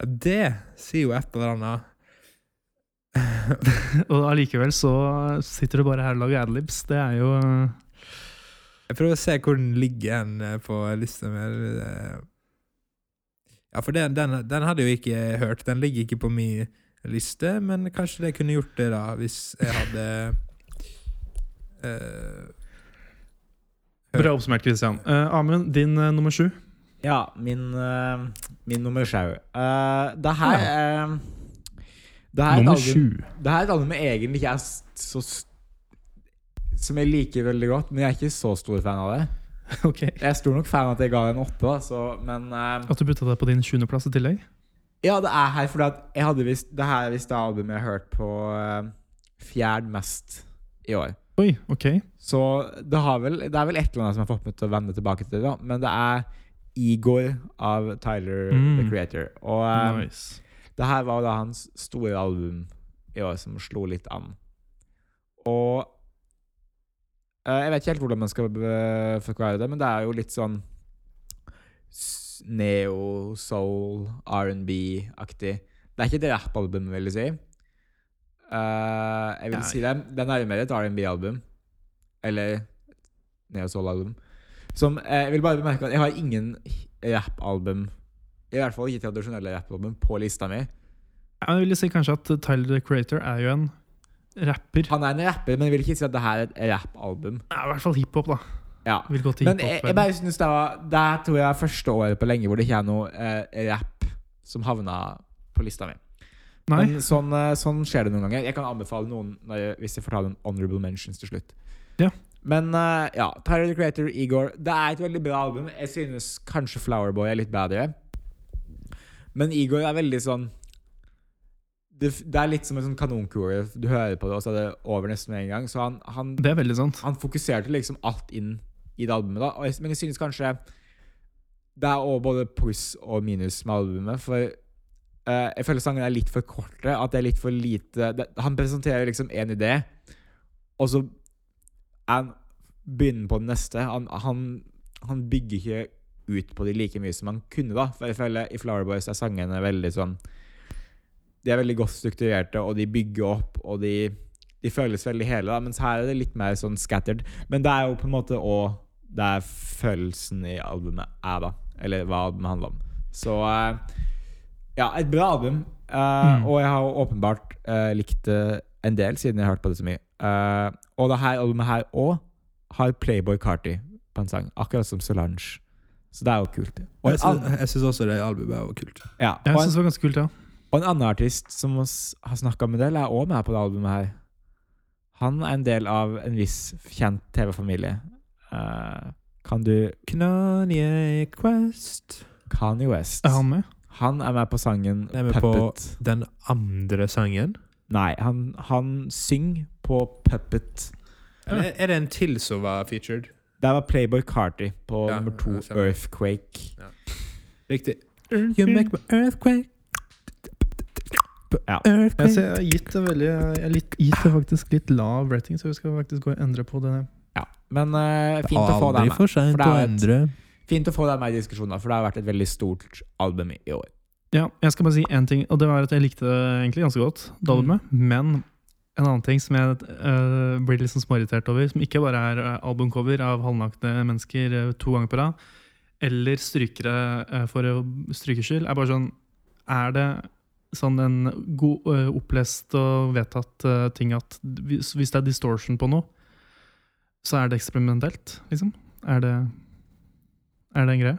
det sier jo et eller annet. Og allikevel så sitter du bare her og lager adlibs. Det er jo eh, Jeg prøver å se hvor den ligger hen eh, på lista mi. eh. Ja, for den, den, den hadde jo ikke jeg hørt. Den ligger ikke på min liste, men kanskje jeg kunne gjort det, da, hvis jeg hadde eh, Bra oppsummert, Christian. Eh, Amund, din eh, nummer sju. Ja, min, eh, min nummer sju. Eh, det her eh, det her er et album- Det her er et album jeg egentlig ikke er s- så s- Som jeg liker veldig godt, men jeg er ikke så stor fan av det. Ok. Jeg er stor nok fan at jeg ga en åtte, da, så, men eh, At du putta deg på din sjuendeplass i tillegg? Ja, det er her fordi at jeg hadde visst Det her er visst det albumet jeg har hørt på eh, fjerd mest i år. Oi, ok. Så det, har vel, det er vel et eller annet som har fått meg til å vende tilbake til det, da. Men det er Igor av Tyler the Mm. Creator. Og eh, nice. det her var da hans store album i år som slo litt an. Og eh, Jeg vet ikke helt hvordan man skal eh, forklare det, men det er jo litt sånn s- neo, soul, R&B-aktig. Det er ikke et rappalbum, vil jeg si. Eh, jeg vil Nei. si det, den er jo mer et R&B-album. Eller neo soul-album. Som eh, Jeg vil bare bemerke at jeg har ingen rappalbum i hvert fall ikke tradisjonelle rappalbum på lista mi. Ja, Jeg vil si kanskje at Tyler the Creator er jo en rapper. Han er en rapper, men jeg vil ikke si at det her er et rappalbum. Ja, I hvert fall hiphop, da. Ja. Vil gå til Men jeg, jeg hiphop. bare synes det var Der tror jeg er første året på lenge hvor det ikke er noe eh, rapp som havna på lista mi. Nei? Men sånn, eh, sånn skjer det noen ganger. Jeg kan anbefale noen når jeg, hvis jeg får ta noen honorable mentions til slutt. Ja. Men eh, ja, Tyler the Creator, Igor Det er et veldig bra album. Jeg synes kanskje Flowerboy er litt bedre. Men Igor er veldig sånn Det, f- det er litt som en sånn kanonkule. Du hører på det, og så er det over nesten med en gang. Så han, han Det er veldig sant. han fokuserte liksom alt inn i det albumet, da. Og jeg, men jeg synes kanskje det er også både pluss og minus med albumet, for eh, jeg føler sangene er litt for korte. At det er litt for lite det, Han presenterer liksom én idé, og så er han begynner på den neste. Han, han, han bygger ikke ut på de like mye som han kunne, da. For jeg føler i Flower Boys er sangene veldig sånn De er veldig godt strukturerte, og de bygger opp, og de de føles veldig hele, da, mens her er det litt mer sånn scattered. Men det er jo på en måte òg der følelsen i albumet er, da. Eller hva albumet handler om. Så eh, ja, et bra album. Eh, Mm. Og jeg har jo åpenbart eh, likt det en del, siden jeg har hørt på det så mye. Eh, og det her albumet her òg har Playboy Carty på en sang, akkurat som Solange. Så det er jo kult. Og Jeg en, an syns- Jeg syns også det albumet var kult. ja, Jeg og synes en, det var ganske kult, ja. og en annen artist som oss har snakka med del, er òg med på det albumet her. Han er en del av en viss kjent TV-familie. Eh, kan du Kanye Quest Kanye West? Er han med? Han er med på sangen Er med på- Puppet. Den andre sangen? Nei, han, han synger på Puppet. Eller er det en til som var featured? Der var Playboy Carty på Ja, nummer to, jeg skjønner. Earthquake. Riktig. You make my earthquake. Ja. Jeg, ser, Earthquake. jeg har gitt det veldig Jeg har litt, gitt det faktisk litt lav rating, så vi skal faktisk gå og endre på det. ja. Men eh, fint å få deg med. for seint for det er å et- Fint å få deg med i diskusjonen, for det har vært et veldig stort album i år. Ja, jeg skal bare si én ting, og det var at jeg likte det egentlig ganske godt. Det albumet, Men en annen ting som jeg øh, blir litt sånn småirritert over, som ikke bare er øh, albumcover av halvnakne mennesker øh, to ganger på rad, eller strykere øh, for å strykes skyld, er bare sånn Er det sånn en god, øh, opplest og vedtatt øh, ting at hvis, hvis det er distortion på noe, så er det eksperimentelt, liksom? Er det, er det en greie?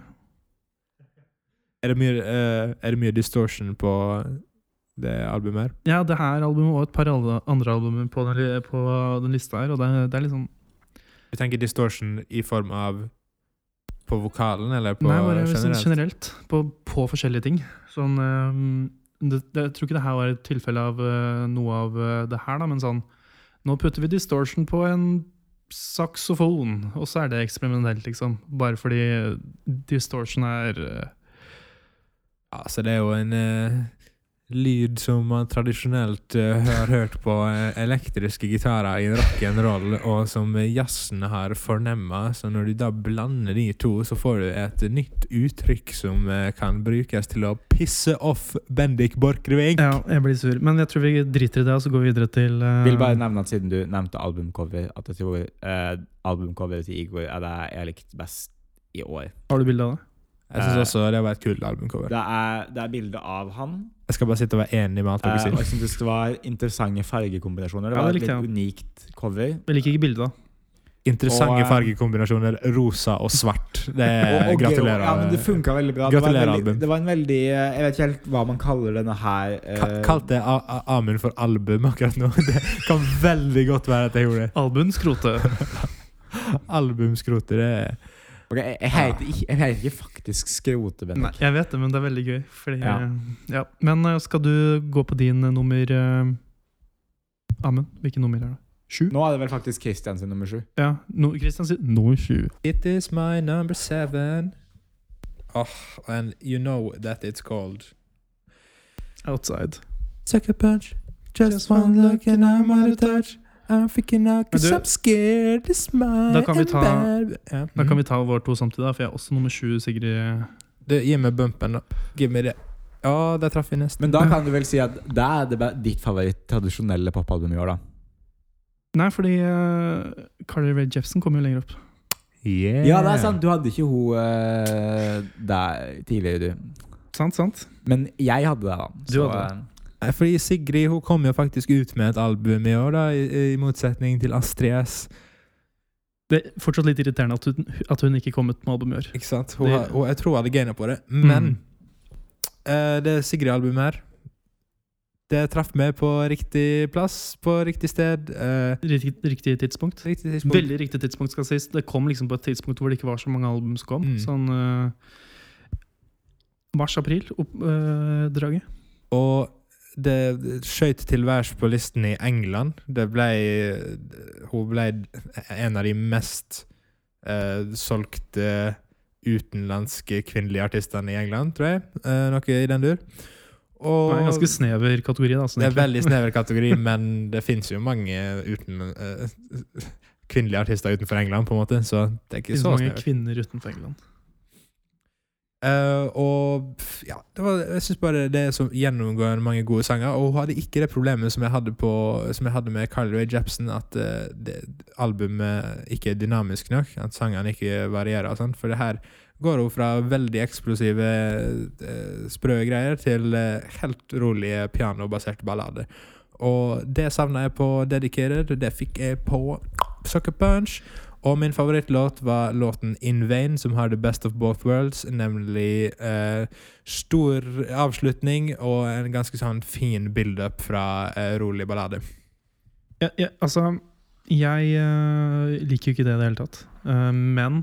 Er det, mye, eh, er det mye distortion på det albumet her? Ja, det her albumet og et par alle- andre albumer på den, li- på liksom, den lista her, og det, det er litt sånn Du tenker distortion i form av På vokalen, eller på Nei, bare generelt? generelt. Sånn generelt på, på forskjellige ting. Sånn, eh, det, det, jeg tror ikke det her var et tilfelle av eh, noe av eh, det her, da, men sånn Nå putter vi distortion på en saksofon, og så er det eksperimentelt, liksom. Bare fordi distortion er eh, Ja, så det er jo en eh, lyd som man tradisjonelt eh, har hørt på eh, elektriske gitarer i rock'n'roll, og som jazzen har fornemma. Så når du da blander de to, så får du et nytt uttrykk som eh, kan brukes til å pisse off Bendik Borchgrevink. Ja, jeg blir sur. Men jeg tror vi driter i det, og så går vi videre til eh, Vil bare nevne at siden du nevnte albumcover, at jeg tror eh, albumcoveret til Igor er det jeg har likt best i år. Har du bilde av det? Jeg syns også det var et kult albumcover. Det er, det er bilde av han. Jeg skal bare sitte og være enig med alt Eh, og dere jeg sier. synes det var interessante fargekombinasjoner. Det Ja, var det et likte litt unikt cover. Jeg liker ikke bildet, da. Interessante og, eh, fargekombinasjoner. Rosa og svart. Det Og- og gratulerer. Ja, men det funka veldig bra. Det var, en Gratulerer, veldig, album. det var en veldig eh, Jeg vet ikke helt hva man kaller denne her. eh, Ka- Kalte jeg A- A- Amund for album akkurat nå? Det kan veldig godt være at jeg gjorde det. Albuen skrote. Albumskroter det er- ok, jeg, jeg, heter, ikke- jeg heter ikke faktisk skrote, Nei, Bendik. jeg vet det, men det er veldig gøy. Fordi, ja. Ja. Men eh, skal du gå på din eh, nummer eh, Amund, hvilket nummer er det? Sju? Nå er det vel faktisk Christian sin nummer sju. Ja, no, Christian sier nummer sju. It is my number seven. Oh, and you know that it's called Outside. Sucker punch. Just, Just one one look and I'm out of touch. I'm freaking out Men 'cause du- I'm scared. It's my Da kan vi and ta- bad. Ja. Da kan vi ta vår to samtidig, da, for jeg er også nummer sju, Sigrid. Du, Gi meg bumpen, da. Gi meg det. Ja, der traff vi nesten. Men da kan du vel si at det er det be- ditt favoritt-tradisjonelle popalbum i år, da. Nei, fordi uh, Carly Rae Jepsen kommer jo lenger opp. Yeah. Ja, det er sant. Du hadde ikke hun eh, der tidligere, du. Sant, sant? Men jeg hadde det, da. Du hadde det. eh, Nei, fordi Sigrid hun kom jo faktisk ut med et album i år, da, i, i motsetning til Astrid S. Det er fortsatt litt irriterende at hun, at hun ikke kom ut med album i år. Ikke sant? Hun, Det- Mm. har- hun, jeg tror hun hadde gaina på det. Men eh, det Sigrid-albumet her Det traff meg på riktig plass, på riktig sted. eh, Riktig, riktig tidspunkt. riktig tidspunkt. Veldig riktig tidspunkt skal sies. Det kom liksom på et tidspunkt hvor det ikke var så mange album som kom. Mm. Sånn eh, mars-april-draget. Og det skøyt til værs på listen i England. Det ble Hun ble en av de mest eh, solgte utenlandske kvinnelige artistene i England, tror jeg. Eh, noe i den dur. Og det er en ganske snever kategori. da sånn Det er egentlig. veldig snever kategori, men det finnes jo mange uten, eh, kvinnelige artister utenfor England, på en måte, så det er Det ikke finnes så mange snevert. kvinner utenfor England. Eh, og f- ja, det var, jeg syns bare det er så gjennomgående mange gode sanger. Og hun hadde ikke det problemet som jeg hadde, på, som jeg hadde med Carly Rae Jepsen, at eh, det, albumet ikke er dynamisk nok. At sangene ikke varierer og sånn. For det her går hun fra veldig eksplosive, eh, sprø greier til eh, helt rolige pianobaserte ballader. Og det savna jeg på Dedicated, og det fikk jeg på Sucker Punch. Og min favorittlåt var låten In Vain, som har The Best of Both Worlds, nemlig eh, stor avslutning og en ganske sånn fin build-up fra eh, rolig ballade. Ja, ja, altså, jeg eh, liker jo ikke det i det hele tatt. Eh, men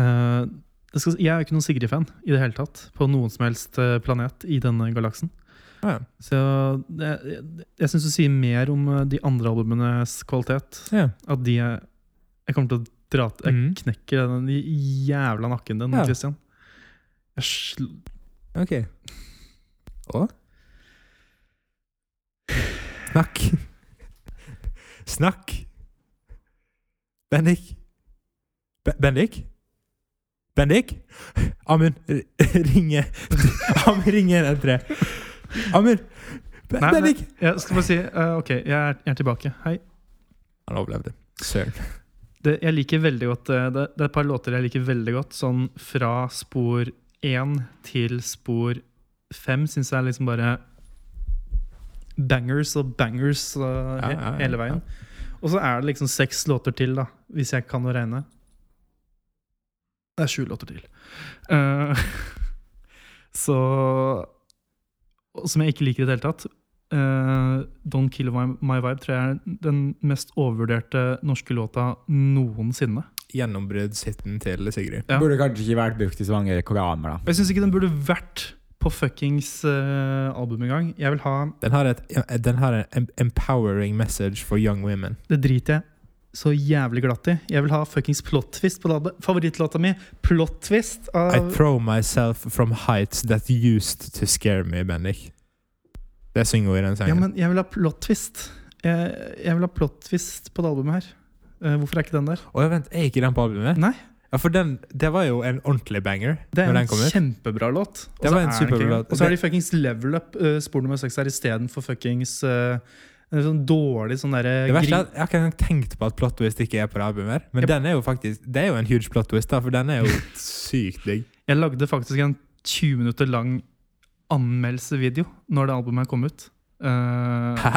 eh, det skal, jeg er jo ikke noen Sigrid-fan i det hele tatt. På noen som helst eh, planet i denne galaksen. Ah, Så det, jeg, jeg syns du sier mer om eh, de andre albumenes kvalitet. ja. At de er Jeg kommer til å dra til Jeg Mhm. knekker den jævla nakken din, Ja. Christian. Jeg sl OK. Og Snakk. Snakk. Bendik. Be Bendik? Bendik? Amund, r- ringe Amund, ringe 113. Amund! Be Nei, nei. Bendik! jeg skal bare si eh, OK, jeg er, jeg er tilbake. Hei. Han overlevde. Søren. Det, jeg liker veldig godt eh, det, det er et par låter jeg liker veldig godt. Sånn fra spor én til spor fem syns jeg er liksom bare Bangers og bangers eh, ja, he- ja, hele veien. Og så er det liksom seks låter til, da, hvis jeg kan å regne. Det er sju låter til. Eh, så og Som jeg ikke liker i det hele tatt. Eh, Don't Kill My, My Vibe tror jeg er den mest overvurderte norske låta noensinne. gjennombruddshiten til Sigrid. Ja. Burde kanskje ikke vært brukt i så mange koraner, da. Jeg syns ikke den burde vært på fuckings eh, album engang. Jeg vil ha Den har, et, den har en em- empowering message for young women. Det driter jeg så jævlig glatt i. Jeg vil ha fuckings plot-twist på låta. Favorittlåta mi, plot-twist I av throw myself from heights that used to scare me, Bendik. Det synger hun i den Ja, sangen. men jeg vil ha plot-twist. Jeg, jeg vil ha plot-twist på det albumet her. Eh, hvorfor er ikke den der? Å ja, vent, er ikke den på albumet? Nei. Ja, for den, det var jo en ordentlig banger Det er når en den kom ut. kjempebra låt. Og Det så var en er den ikke superbra engang. låt. Og så er de fuckings level up eh, spor nummer seks her istedenfor fuckings eh, en sånn dårlig sånn derre Det verste grin- er at Jeg har ikke engang tenkt på at plot twist ikke er på det albumet. her Men Yep. den er jo faktisk Det er jo en huge plot twist, da, for den er jo sykt digg. Jeg lagde faktisk en 20 minutter lang anmeldelsevideo når det albumet kom ut. Eh, Hæ?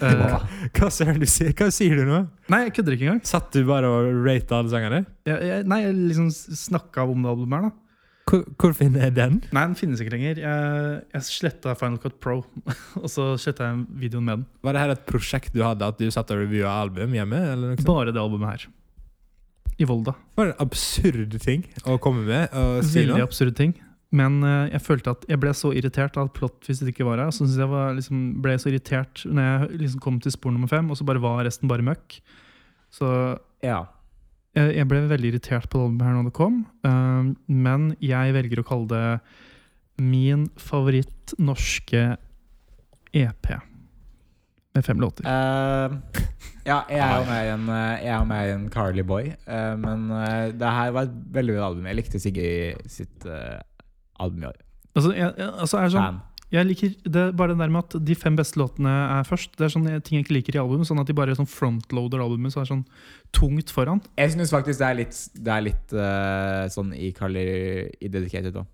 eh, Hva sier du, sier- hva sier du nå? nei, jeg kødder ikke engang. Satt du bare og rata alle sangene? Jeg, jeg, nei, jeg liksom snakka om det albumet her, da. Hvor, hvor finner jeg den? Nei, den finnes ikke lenger. Jeg, jeg sletta Final Cut Pro, og så sletta jeg videoen med den. Var det her et prosjekt du hadde, at du satt og reviewa album hjemme? Eller noe sånt? Bare det albumet her. I Volda. Var det en absurd ting å komme med og si Veldig noe? absurd ting. Men eh, jeg følte at jeg ble så irritert av at plott hvis det ikke var her. Så synes jeg var, liksom, ble jeg så irritert når jeg liksom kom til spor nummer fem, og så bare var resten bare møkk. Så Ja. jeg, jeg ble veldig irritert på det albumet her når det kom. eh, men jeg velger å kalle det min favoritt norske EP. Med fem låter. Eh, ja, jeg er jo mer en, eh, jeg er jo mer en Carly Boy, eh, men eh, det her var et veldig bra album. Jeg likte Sigrid sitt eh, album i år. Altså, jeg, jeg, altså er det sånn, Fan. jeg liker det, er bare det der med at de fem beste låtene er først. Det er sånn jeg- ting jeg ikke liker i albumet. Sånn at de bare sånn frontloader albumet så er det sånn tungt foran. Jeg syns faktisk det er litt, det er litt eh, sånn i Carly i Dedicated òg.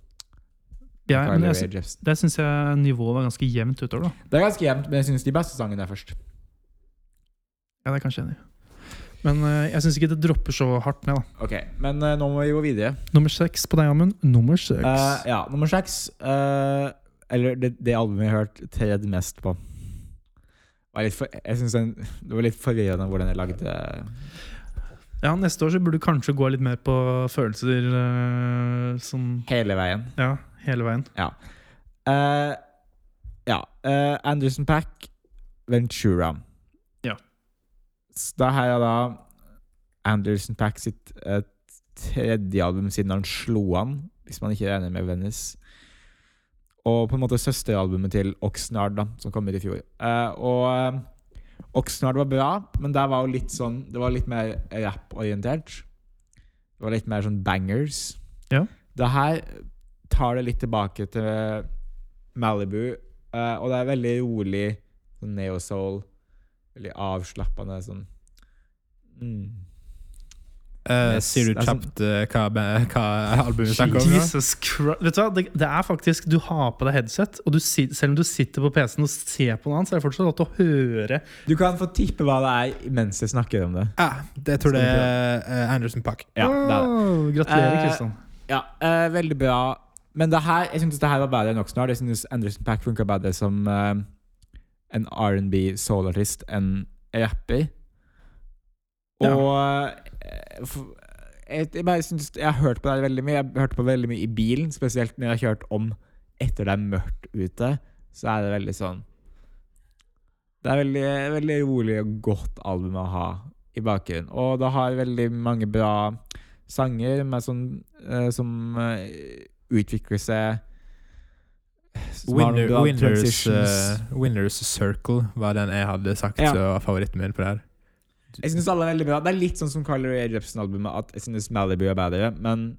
Jeg, men jeg, sy- Det der syns jeg nivået var ganske jevnt utover, da. er ganske jevnt, men jeg syns de beste sangene er først. Ja, det er kanskje enig. Men eh, jeg syns ikke det dropper så hardt ned, da. Ok, Men eh, nå må vi gå videre. Nummer seks på deg, Amund. Nummer seks. Eh, ja, nummer seks eh, Eller det, det albumet jeg har hørt tredje mest på. Var litt for, jeg synes den, det var litt forvirrende hvordan jeg lagde Ja, neste år så burde du kanskje gå litt mer på følelser eh, sånn hele veien. Ja, hele veien. Eh, ja. eh, Anderson Pack, Ventura. Ja. Så da har jeg da Anderson Pack sitt eh, tredje album siden han slo an, hvis man ikke regner med Venice. Og på en måte søsteralbumet til Oxnard, da, som kom ut i fjor. Eh, og eh, Oxnard var bra, men der var jo litt sånn Det var litt mer rapporientert. Det var litt mer sånn bangers. Ja. Det her tar det litt tilbake til Malibu, eh, og det er veldig rolig sånn neo-soul. Veldig avslappende sånn mm. Eh, Yes, sier du det er sånn- kjapt eh, hva, ba- hva albumet snakker om? nå? Jesus Christ. Vet du hva? Det, det er faktisk Du har på deg headset, og du, si- selv om du sitter på PC-en og ser på noe annet, så er det fortsatt lov til å høre. Du kan få tippe hva det er mens jeg snakker om det. Ah, det tror jeg er eh, Anderson Pack. Ja, det er det. Wow, gratulerer, Eh, Kristian. Ja, eh, veldig bra. Men det her, jeg synes det her var bedre enn Oxnard. Jeg synes Anderson Pack funka bedre som eh, en R&B soulartist enn rapper. Ja. Og eh, f- jeg, jeg bare synes Jeg har hørt på det her veldig mye. Jeg hørte på veldig mye i bilen, spesielt når jeg har kjørt om etter det er mørkt ute. Så er det veldig sånn Det er veldig, veldig rolig og godt album å ha i bakgrunnen. Og det har veldig mange bra sanger med sånn, eh, som eh, utvikler seg som har noen Winner, bra winners, transitions. eh, winners Circle var den jeg hadde sagt Ja. som var favoritten min på det her. Jeg synes alle er veldig bra. Det er litt sånn som Carly Rae Jepsen-albumet, at jeg synes Malibu er bedre, men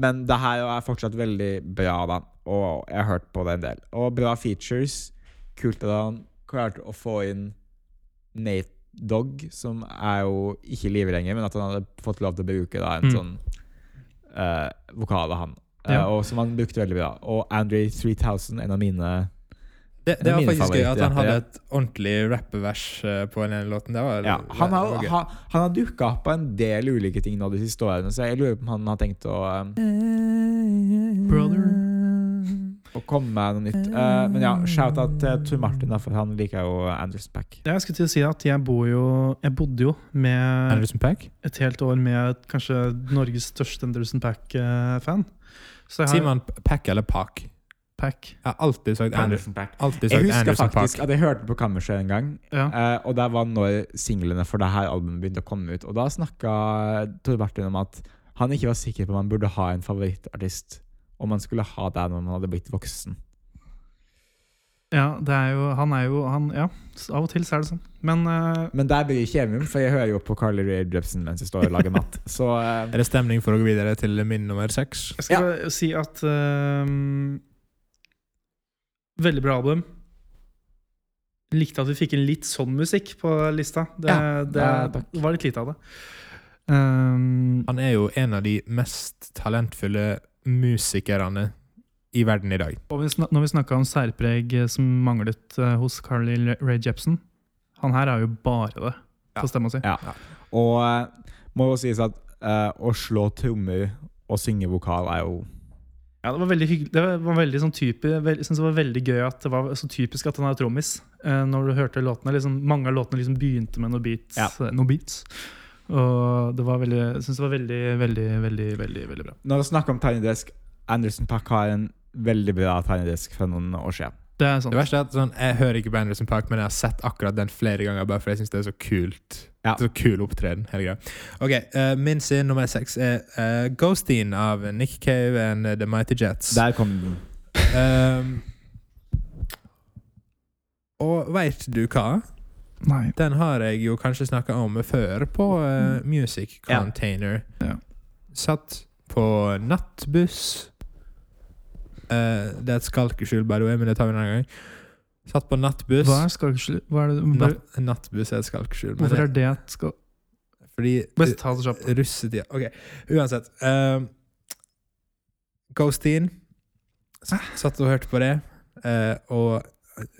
Men det her er fortsatt veldig bra, da, og jeg har hørt på det en del. Og bra features. Kult at han klarte å få inn Nate Dogg, som er jo ikke i live lenger, men at han hadde fått lov til å bruke da, en Mm. sånn eh, vokal av han. Eh, Ja. og som han brukte veldig bra. Og Andre 3000, en av mine Det, Det det er var mine faktisk gøy at han hadde favorittrappere. et ordentlig rappevers eh, på den ene låten. Det var, Ja, det- han, det har, var gøy. han, han har dukka opp på en del ulike ting nå de siste årene, så jeg lurer på om han har tenkt å um, Brother. å komme med noe nytt. Eh, men ja, shout-out til Tor Martin, da, for han liker jo Anderson Pack. Jeg skulle til å si at jeg bor jo Jeg bodde jo med Anderson Pack? et helt år med et- kanskje Norges største Anderson Pack-fan. Så jeg Sier har man Pack eller Pack? Pack. Jeg har alltid sagt Anderson, Pack. alltid Jeg sagt husker Anderson faktisk Pack. at jeg hørte på Kammerset en gang, Ja. eh, og det var når singlene for det her albumet begynte å komme ut. Og da snakka Tor Martin om at han ikke var sikker på om han burde ha en favorittartist, om han skulle ha det når man hadde blitt voksen. Ja, det er jo Han er jo han, Ja, s- av og til så er det sånn. Men eh, Men der blir det kjemium, for jeg hører jo på Carly Rae Jepsen mens jeg står og lager mat. Så eh, Er det stemning for å gå videre til min nummer seks? jeg skal bare si at eh, Veldig bra album. Likte at vi fikk inn litt sånn musikk på lista. Det, Ja, det, ja, takk. var litt lite av det. Um, Han er jo en av de mest talentfulle musikerne i verden i dag. Og vi snak- når vi snakka om særpreg eh, som manglet eh, hos Carly Le- Rae Jepsen Han her har jo bare det Ja. på stemma si. Ja. Og eh, må jo sies at eh, å slå trommer og synge vokal er jo Ja, det var veldig hyggelig Det var- var veldig sånn type, veld, jeg synes det var veldig gøy at det var så typisk at han er trommis. Eh, når du hørte låtene liksom, Mange av låtene liksom begynte med noen beats. Ja. eh, noen beats. Og det var veldig, jeg syns det var veldig, veldig, veldig veldig, veldig bra. Når vi snakker om Tiny Desk, Anderson Pack har en veldig bra Tiny Desk fra noen år siden. Det er sant. Det verste er at sånn, Jeg hører ikke på Anderson Park, men jeg har sett akkurat den flere ganger. Bare fordi jeg synes det er så kult. Ja. Så kul opptreden. hele greia. Ok, eh, Min sin nummer seks er eh, Ghostin av Nick Cave and The Mighty Jets. Der kom den. Ehm, og veit du hva? Nei. Den har jeg jo kanskje snakka om før på eh, Music Ja. Container. Ja. Satt på nattbuss Eh, Det er et skalkeskjul, by the way, men det tar vi en annen gang. Satt på nattbuss. Hva er skalkeskjul? Hva er det, Natt, nattbuss er et skalkeskjul. men det- hvorfor er det et skal... Fordi Bare ta det kjapt. Russetida. Ok, uansett. Um, Ghosteen. S- Ah. Satt og hørte på det. eh, og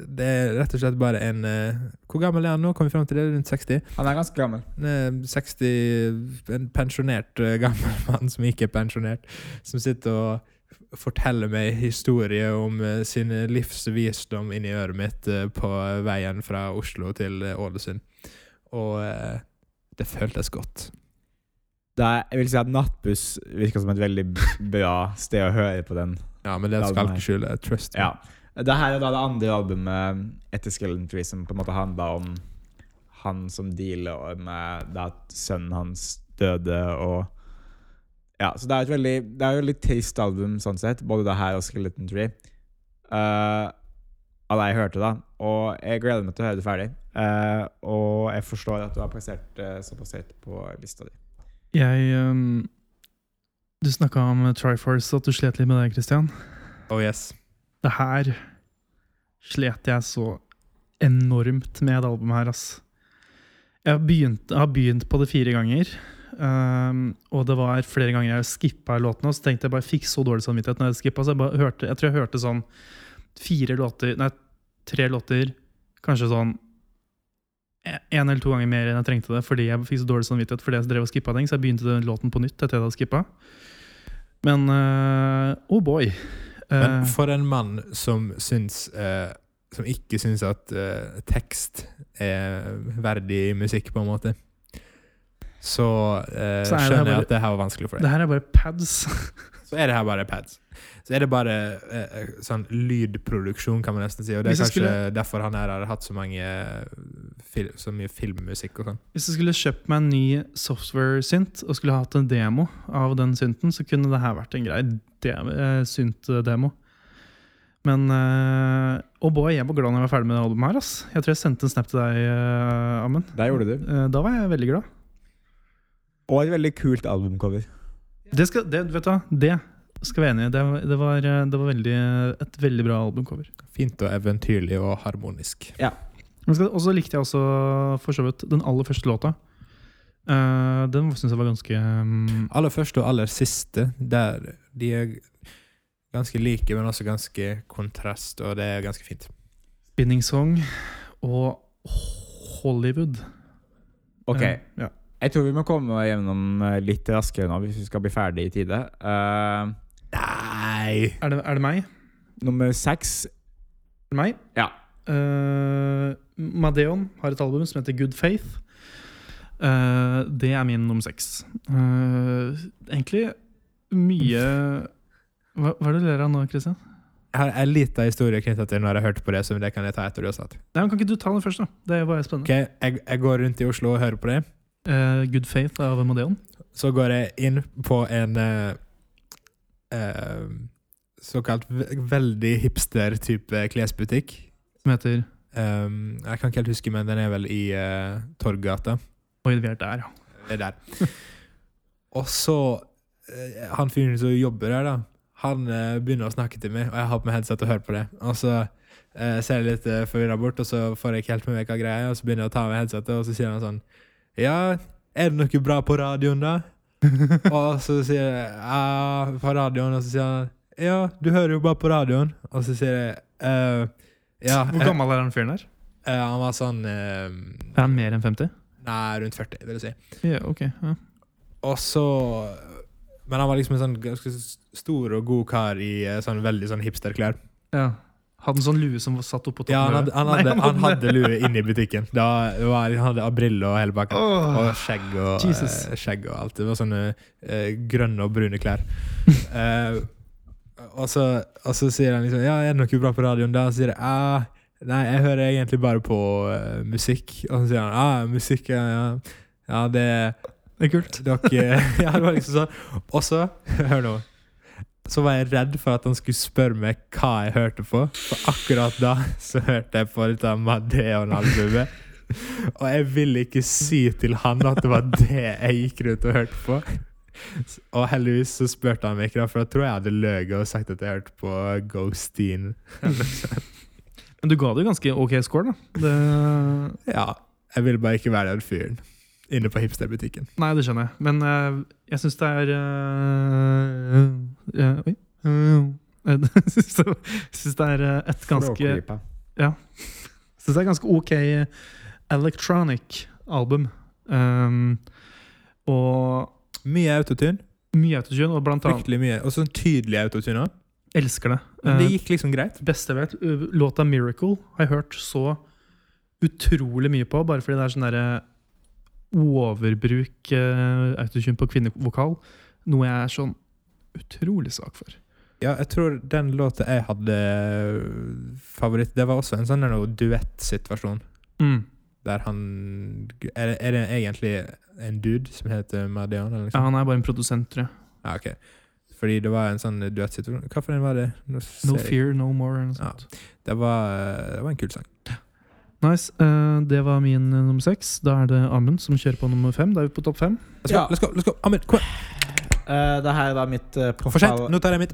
det er rett og slett bare en eh, Hvor gammel er han nå? Kom vi fram til det? Rundt 60? Han er ganske gammel. Han er 60 Eh, En pensjonert eh, gammel mann som ikke er pensjonert, som sitter og forteller meg historier om eh, sin livs visdom inni øret mitt eh, på veien fra Oslo til eh, Ålesund. Og eh, det føltes godt. Det er, jeg vil si at Nattbuss virker som et veldig bra sted å høre på den. Ja, men det Ja, skal nei. ikke skjule. Trust me. Ja. Sånn. Det her er da det andre albumet etter Skeleton Tree som på en måte handla om han som dealer med det at sønnen hans døde og Ja, så det er et veldig Det er jo et litt trist album, sånn sett, både det her og Skeleton Tree. Eh, av det jeg hørte, da. Og jeg gleder meg til å høre det ferdig. Eh, og jeg forstår at du har plassert uh, såpass høyt på lista di. Jeg ehm, Du snakka om Triforce, at du slet litt med det, Christian. Oh yes. Det her slet jeg så enormt med det albumet her, ass. Jeg har begynt, jeg har begynt på det fire ganger. ehm, og det var flere ganger jeg skippa låtene. Og så tenkte jeg bare jeg fikk så dårlig samvittighet når jeg skippa. Så jeg, bare hørte, jeg tror jeg hørte sånn fire låter Nei, tre låter. Kanskje sånn en eller to ganger mer enn jeg trengte det fordi jeg fikk så dårlig samvittighet fordi jeg drev og skippa ting. Så jeg begynte den låten på nytt etter jeg hadde skippa. Men eh, oh boy. Eh, Men for en mann som syns eh, Som ikke syns at eh, tekst er verdig musikk, på en måte, så, eh, Så er det her skjønner bare- jeg at det her var vanskelig for Det deg. her er bare pads. Så er det her bare pads. Så er det bare eh, sånn lydproduksjon, kan man nesten si. Og det er Hvis jeg kanskje derfor han her har hatt så, mange, eh, fil så mye filmmusikk og sånn. Hvis jeg skulle kjøpt meg en ny software-synt og skulle hatt en demo av den synten, så kunne det her vært en grei de- eh, synt-demo. Men eh, oh boy, jeg var glad når jeg var ferdig med det albumet her. ass. Jeg tror jeg sendte en snap til deg, eh, Amund. Der gjorde du. Eh, da var jeg veldig glad. Og et veldig kult albumcover. Det skal, det, vet du hva, det skal vi være enig i. Det, det var, eh, det var veldig, et veldig bra albumcover. Fint og eventyrlig og harmonisk. Men skal- Og så likte jeg også for så vidt den aller første låta. Eh, den syns jeg var ganske mm, Aller første og aller siste, der de er ganske like, men også ganske kontrast, og det er ganske fint. Spinning Song og Hollywood. Eh, Ok, Ja. Jeg tror vi må komme gjennom eh, litt raskere nå hvis vi skal bli ferdig i tide. Eh, Nei! Er, det, er det meg? Nummer seks For meg. Ja. Eh, Madeon har et album som heter Good Faith. Eh, det er min nummer seks. Eh, egentlig mye hva, hva er det du ler av nå, Christian? Jeg har en liten historie knyttet til når jeg hørte på det, som det kan jeg ta etter du har sagt. Nei, men Kan ikke du ta den først, da? Det var spennende. Ok, jeg, jeg går rundt i Oslo og hører på det. Eh, Good Faith av Madeon. Så går jeg inn på en eh, eh, såkalt ve veldig hipster-type klesbutikk. Som heter Um, jeg kan ikke helt huske, men den er vel i eh, Torggata. Oi, vi er der, ja. Det er der. Og så eh, Han fyren som jobber der, da, han eh, begynner å snakke til meg, og jeg har på meg headset og hører på det. Og så eh, ser jeg litt uh, forvirra bort, og så får jeg ikke helt med meg hva greia er, og så begynner jeg å ta av meg headsetet, og så sier han sånn Ja, er det noe bra på radioen, da? og så sier jeg ja, på radioen, og så sier han ja, du hører jo bare på radioen. Og så sier jeg eh, ja, Hvor eh, gammel er den fyren der? eh, Han var sånn eh, Er han mer enn 50? Nei, rundt 40, vil jeg si. Ja, ok. Ja. Og så Men han var liksom en sånn ganske stor og god kar i eh, sånn veldig sånn hipsterklær. ja. Hadde en sånn lue som var satt oppå toppen? Ja, han hadde, av øret? han Nei, hadde, han hadde- hadde lue inne i butikken. Da var, han hadde abrille og hele bakken. Åh. Og skjegg og, Jesus. eh, skjegg og alt. Det var sånne eh, grønne og brune klær. Eh, og, så, og så sier han liksom Ja, er det noe bra på radioen? Da Og så sier jeg ah, Nei, jeg hører egentlig bare på eh, musikk. Og så sier han ah, musikk, ja, ja. ja det Det er kult. dere Ja, det var liksom sånn. Og så, hør nå Så var jeg redd for at han skulle spørre meg hva jeg hørte på. For akkurat da så hørte jeg på dette Madeon-albumet. Og jeg ville ikke si til han at det var det jeg gikk rundt og hørte på. Og heldigvis så spurte han meg ikke, da, for da tror jeg jeg hadde løyet og sagt at jeg hørte på Ghosteen. Men du ga det jo ganske ok score, da. Det Ja, jeg ville bare ikke være den fyren inne på hipsterbutikken. Nei, det skjønner jeg. Men eh, jeg syns det er eh, eh, Oi. Eh, Jeg syns det er eh, et ganske Språklypa. synes det er ganske ok eh, electronic album. Um, og Mye autotune. mye autotune, og blant annet Fryktelig mye. Og sånn tydelig autotune. også. elsker det. Men det Eh, gikk liksom greit. beste jeg vet, ø, låta 'Miracle' har jeg hørt så utrolig mye på, bare fordi det er sånn derre overbruk uh, autotune på kvinnevokal, noe jeg er sånn utrolig svak for. Ja, jeg tror den låta jeg hadde eh, favoritt, det var også en sånn der noe duettsituasjon. Mm. Der han er, er det egentlig en dude som heter Madian? Eller noe Ja, sånt? han er bare en produsent, tror jeg. Ja, ok. Fordi det var en sånn duettsituasjon. Hvilken var det? Nå ser No jeg. Fear, No More. Eller noe Ja. sånt. Det var, eh, det var en kul sang. Nice. Eh, det var min eh, nummer seks. Da er det Amund som kjører på nummer fem. Da er vi på topp fem. Let's go, Ja. let's go, let's go. Ahmed, kom igjen! Eh, det her var mitt uh, For sent, nå tar jeg mitt.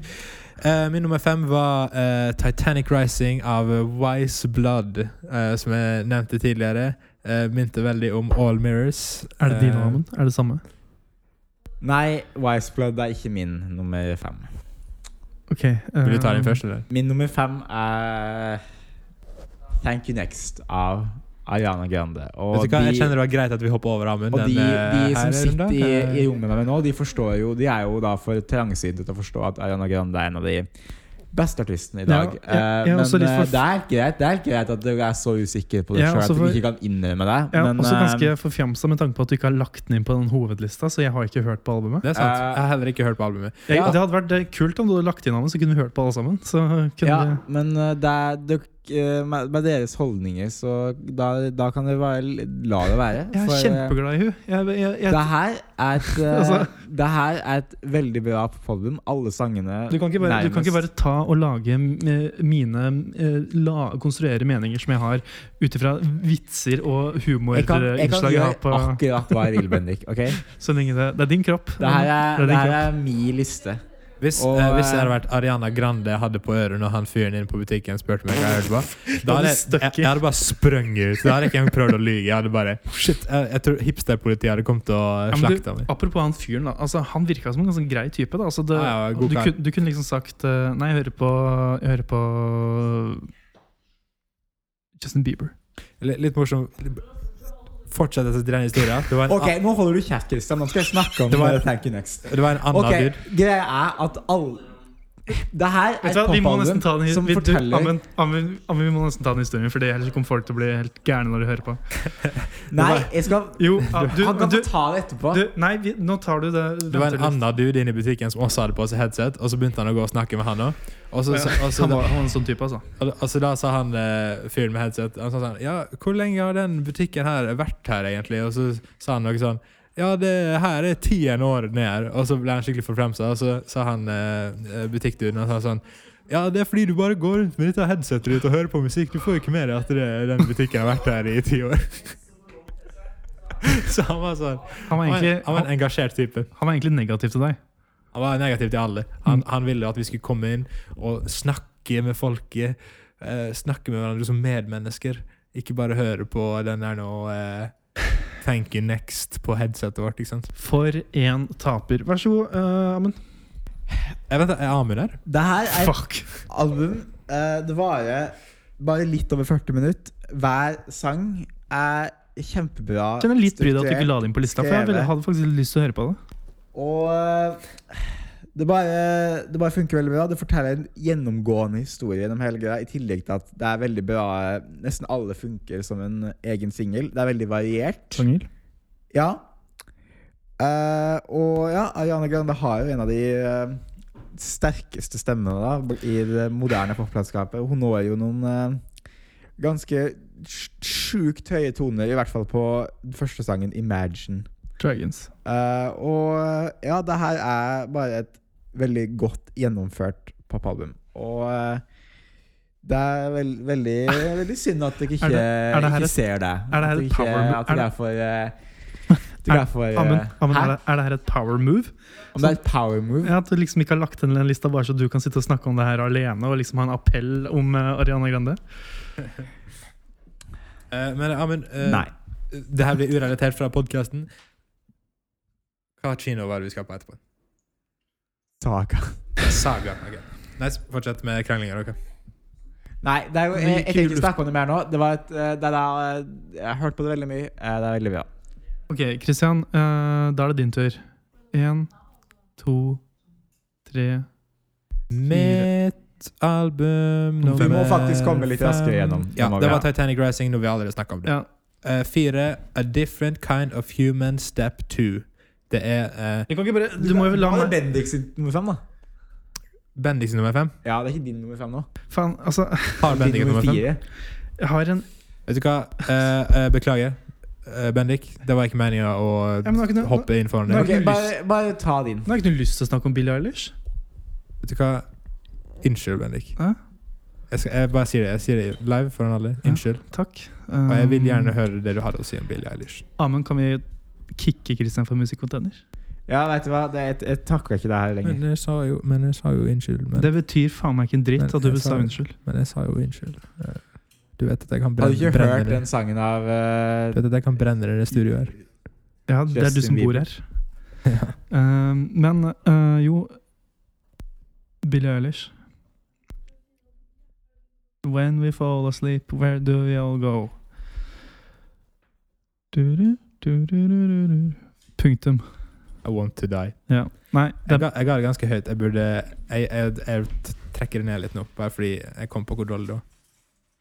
Eh, min nummer fem var eh, Titanic Rising av eh, Wise Blood, eh, som jeg nevnte tidligere. Uh, minte veldig om All Mirrors. Er det din, Eh, Amund? Er det samme? Nei, Wiseblood er ikke min nummer fem. Ok. eh, Vil du ta den først, eller? Min nummer fem er Thank You Next av Ariana Grande. Og Vet du hva, Jeg de- kjenner det var greit at vi hopper over Amund. Og de, denne de som eh, her sitter runden. i, i Eh, rommet med meg nå, de forstår jo De er jo da for trangsynt til å forstå at Ariana Grande er en av de beste artistene i Ja, dag. jeg- jeg er Eh, men også litt eh, for- det er helt greit Det er helt greit at du er så usikker på det Jeg er selv også at du for- ikke kan innrømme det. Jeg er men, også eh, ganske forfjamsa med tanke på at du ikke har lagt den inn på den hovedlista. Så jeg har ikke hørt på albumet. Det er sant. Eh, Jeg har heller ikke hørt på albumet. Jeg, Ja. Det hadde vært eh, kult om du hadde lagt inn Amund, så kunne vi hørt på alle sammen. Så kunne ja, vi- men eh, det er, dere- eh, med, med deres holdninger, så da, da kan dere bare la det være. Jeg for, er eh, kjempeglad i hun Jeg, jeg, jeg, det her er et eh, Altså- Det her er et veldig bra album. Alle sangene du, kan ikke bare, du kan nærmest. ikke bare ta og lage eh, mine eh, la, Konstruere meninger som jeg har, ut ifra vitser og jeg kan, jeg kan humorinnslag eh, jeg gjøre har på akkurat hva jeg vil, Bendik. ok? Så lenge det, det er din kropp. Det her er, Det er din det her er min liste. Hvis, Og, eh, hvis det eh, hadde vært Ariana Grande jeg hadde på øret når han fyren inne på butikken spurte meg hva jeg hørte på, da hadde jeg, Da hadde du jeg, jeg hadde bare sprunget ut. Da hadde jeg ikke engang prøvd å lyge. Jeg hadde bare Shit, jeg, jeg tror hipsterpolitiet hadde kommet og Ja, men du- slakta meg. Apropos han fyren, da. Altså, han virka som en ganske grei type. da altså, det, Ja, ja, god du, kar. kun- du kunne liksom sagt eh, Nei, jeg hører på Jeg hører på Justin Bieber. Litt, litt morsom Fortsett etter den historien. Det var en, Ok, Nå holder du kjeft, Kristian. Nå skal jeg snakke om Det var- eh, Thank You Next. an- det var en annen Ok, dude. Greia er at alle Det her er Vet et du hva, vi må nesten ta den popalbum his- som vi, du, forteller Amund, Amund, Amund, vi må nesten ta den historien, for det- ellers kommer folk til å bli helt gærne når de hører på. Nei, jeg skal Jo, ah, du, Han kan du, få ta det etterpå. du Nei, vi, nå tar du det. Det var en annen dude inne i butikken som også hadde på seg headset, og så begynte han å gå og snakke med han da. Og så, Ja, og så, Han var, han var en sånn type, altså. og, og så da sa han eh, fyren med headset Han sa sånn Ja, hvor lenge har den butikken her vært her, egentlig? Og så sa han noe sånn Ja, det her er tiende år ned her. Og så ble han skikkelig forfremsa, og så sa han eh, butikkduden og sa sånn ja, det er fordi du bare går rundt med dette headsetet ditt og hører på musikk. Du får jo ikke med deg at det, den butikken har vært her i ti år. Så han var sånn Han var Han var, egentlig, han var en engasjert type. han var egentlig negativ til deg. Han var negativ til alle. Han, han ville at vi skulle komme inn og snakke med folket. eh, snakke med hverandre som medmennesker. Ikke bare høre på den der nå eh, Thank you next på headsetet vårt. ikke sant? For en taper. Vær så god, eh, Amund. Jeg vet, Eh, Er Amund der? Det her er et Fuck. album. eh, Det varer bare litt over 40 minutter. Hver sang er kjempebra. Jeg kjenner litt bry deg at du strukturert. ikke la det inn på lista, for jeg ville- hadde faktisk lyst til å høre på det. Og eh, det bare, det bare funker veldig bra. Det forteller en gjennomgående historie gjennom hele greia, i tillegg til at det er veldig bra eh, Nesten alle funker som en egen singel. Det er veldig variert. Sjanger. Ja. Eh, og ja, Ariana Grande har jo en av de eh, sterkeste stemmene da, i det moderne poplandskapet. Hun når jo noen eh, ganske sj- sjukt høye toner, i hvert fall på den første sangen, 'Imagine'. Dragons. Eh, og ja, det her er bare et veldig godt gjennomført popalbum. Og eh, det er vel, veldig, veldig synd at dere ikke, Er det- er det her ikke et- ser det. er det her at et dere ikke, power- at dere er det- er for eh, at dere er for, eh, Amund, Amund, hæ? er, det- er det her et power move? Om det er et power move? Ja, At du liksom ikke har lagt inn den lista bare så du kan sitte og snakke om det her alene, og liksom ha en appell om eh, Ariana Grande? Eh, men Amund, eh, Nei. det her blir urelatert fra podkasten. Hva kino var det vi skal på etterpå? Saga. Saga. ok. Nice. Fortsett med kranglinga. Okay. Nei, det er jo, Men jeg, jeg ikke tenker luft. ikke snakke om det mer nå. Det var et, eh, det er da, eh, jeg har hørt på det veldig mye. Eh, Det er veldig bra. Ok, Kristian, da er det din tur. Én, to, tre Mitt album Du må nummer faktisk komme litt fem. raskere gjennom. Ja, Nå må det vi- var Titanic Rising, når vi allerede snakka om det. Ja, Eh, fire A Different Kind of Human Step 2. Det er eh, Du kan ikke bare Du må jo la Hva er meg Bendik sitt nummer fem, da. Bendix nummer fem. Ja, det er ikke din nummer fem nå. Faen, altså Har Bendik Din nummer fem? fire. Jeg har en Vet du hva? Eh, eh, beklager, Eh, Bendik. Det var ikke meninga å Ja, men da kunne- hoppe inn foran Nå- deg. Ok, ikke lyst. bare, bare ta din. Nå har jeg ikke noe lyst til å snakke om Billie Eilish. Vet du hva? Unnskyld, Bendik. Hæ? Jeg, skal, jeg bare sier det Jeg sier det live foran alle. Ja. Mm. Unnskyld. Takk. Eh, Og jeg vil gjerne høre det du hadde å si om Billie Eilish. Amund, kan vi kicke Kristian for musikkcontainer? Ja, vet du hva? Det, jeg, jeg takler ikke det her lenger. Men jeg sa jo, men jeg sa jo unnskyld. Men, Det betyr faen meg ikke en dritt Men at du jeg sa sa- unnskyld. men jeg sa jo unnskyld. Eh, Du vet at jeg kan Har du brenne, ikke hørt brenne, den sangen av du eh, vet at jeg kan brenne det i det studioet her. Ja, det er du Justin som bor Bieber. her. Eh, men eh, jo Billie Eilish. When we fall asleep, where do we all go? Du-du, du-du-du-du-du. Punktum. I want to die. Ja. Nei, Jeg det ga, jeg ga det ganske høyt. Jeg burde jeg, jeg, jeg t- trekker det ned litt nå, bare fordi jeg kom på hvor dårlig det var.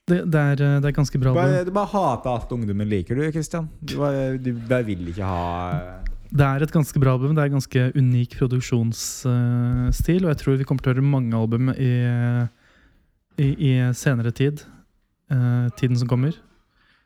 Det, det, er, eh, det er ganske bra. du album. bare, du bare hater alt ungdommen liker, du, Christian. Du bare, du bare vil ikke ha eh, Det er et ganske bra album. Det er ganske unik produksjonsstil. Og jeg tror vi kommer til å høre mange album i, i, i senere tid. eh, tiden som kommer.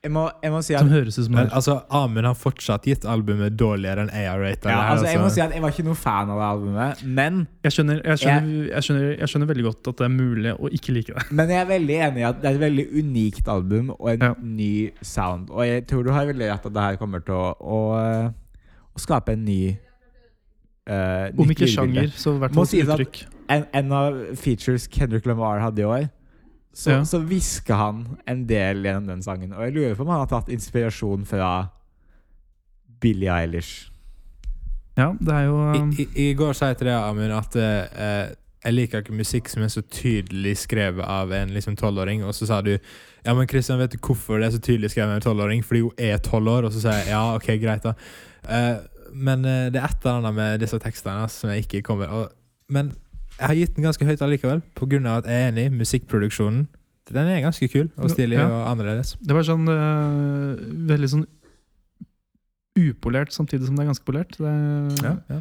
Jeg må, jeg må si at Som høres ut som det Men er. altså, Amund har fortsatt gitt albumet dårligere enn jeg har rata ja, altså, det. jeg må si at jeg var ikke noen fan av det albumet, men, Jeg skjønner, jeg, skjønner, jeg, skjønner, jeg skjønner veldig godt at det er mulig å ikke like det. men jeg er veldig enig i at det er et veldig unikt album og en Ja. ny sound. Og jeg tror du har veldig rett at det her kommer til å, å, eh, å skape en ny eh, Om nytt ikke lydbilde. sjanger, så i hvert Må fall si det at- uttrykk. en, en av features Kendrick Lamar hadde i år, så, Ja. så hvisker han en del gjennom den sangen. Og jeg lurer på om han har tatt inspirasjon fra Billie Eilish. Ja, det er jo I, i, I går sa jeg til deg, Amund, at eh, jeg liker ikke musikk som er så tydelig skrevet av en liksom tolvåring. Og så sa du ja, men Kristian, vet du hvorfor det er så tydelig skrevet av en tolvåring? Fordi hun er tolv år. Og så sa jeg ja, ok, greit, da. Eh, men eh, det er et eller annet med disse tekstene som jeg ikke kommer og, Men Jeg har gitt den ganske høyt allikevel, pga. at jeg er enig i musikkproduksjonen. Den er ganske kul og stilig Ja. og annerledes. Det var sånn eh, veldig sånn upolert, samtidig som det er ganske polert. Det, Ja.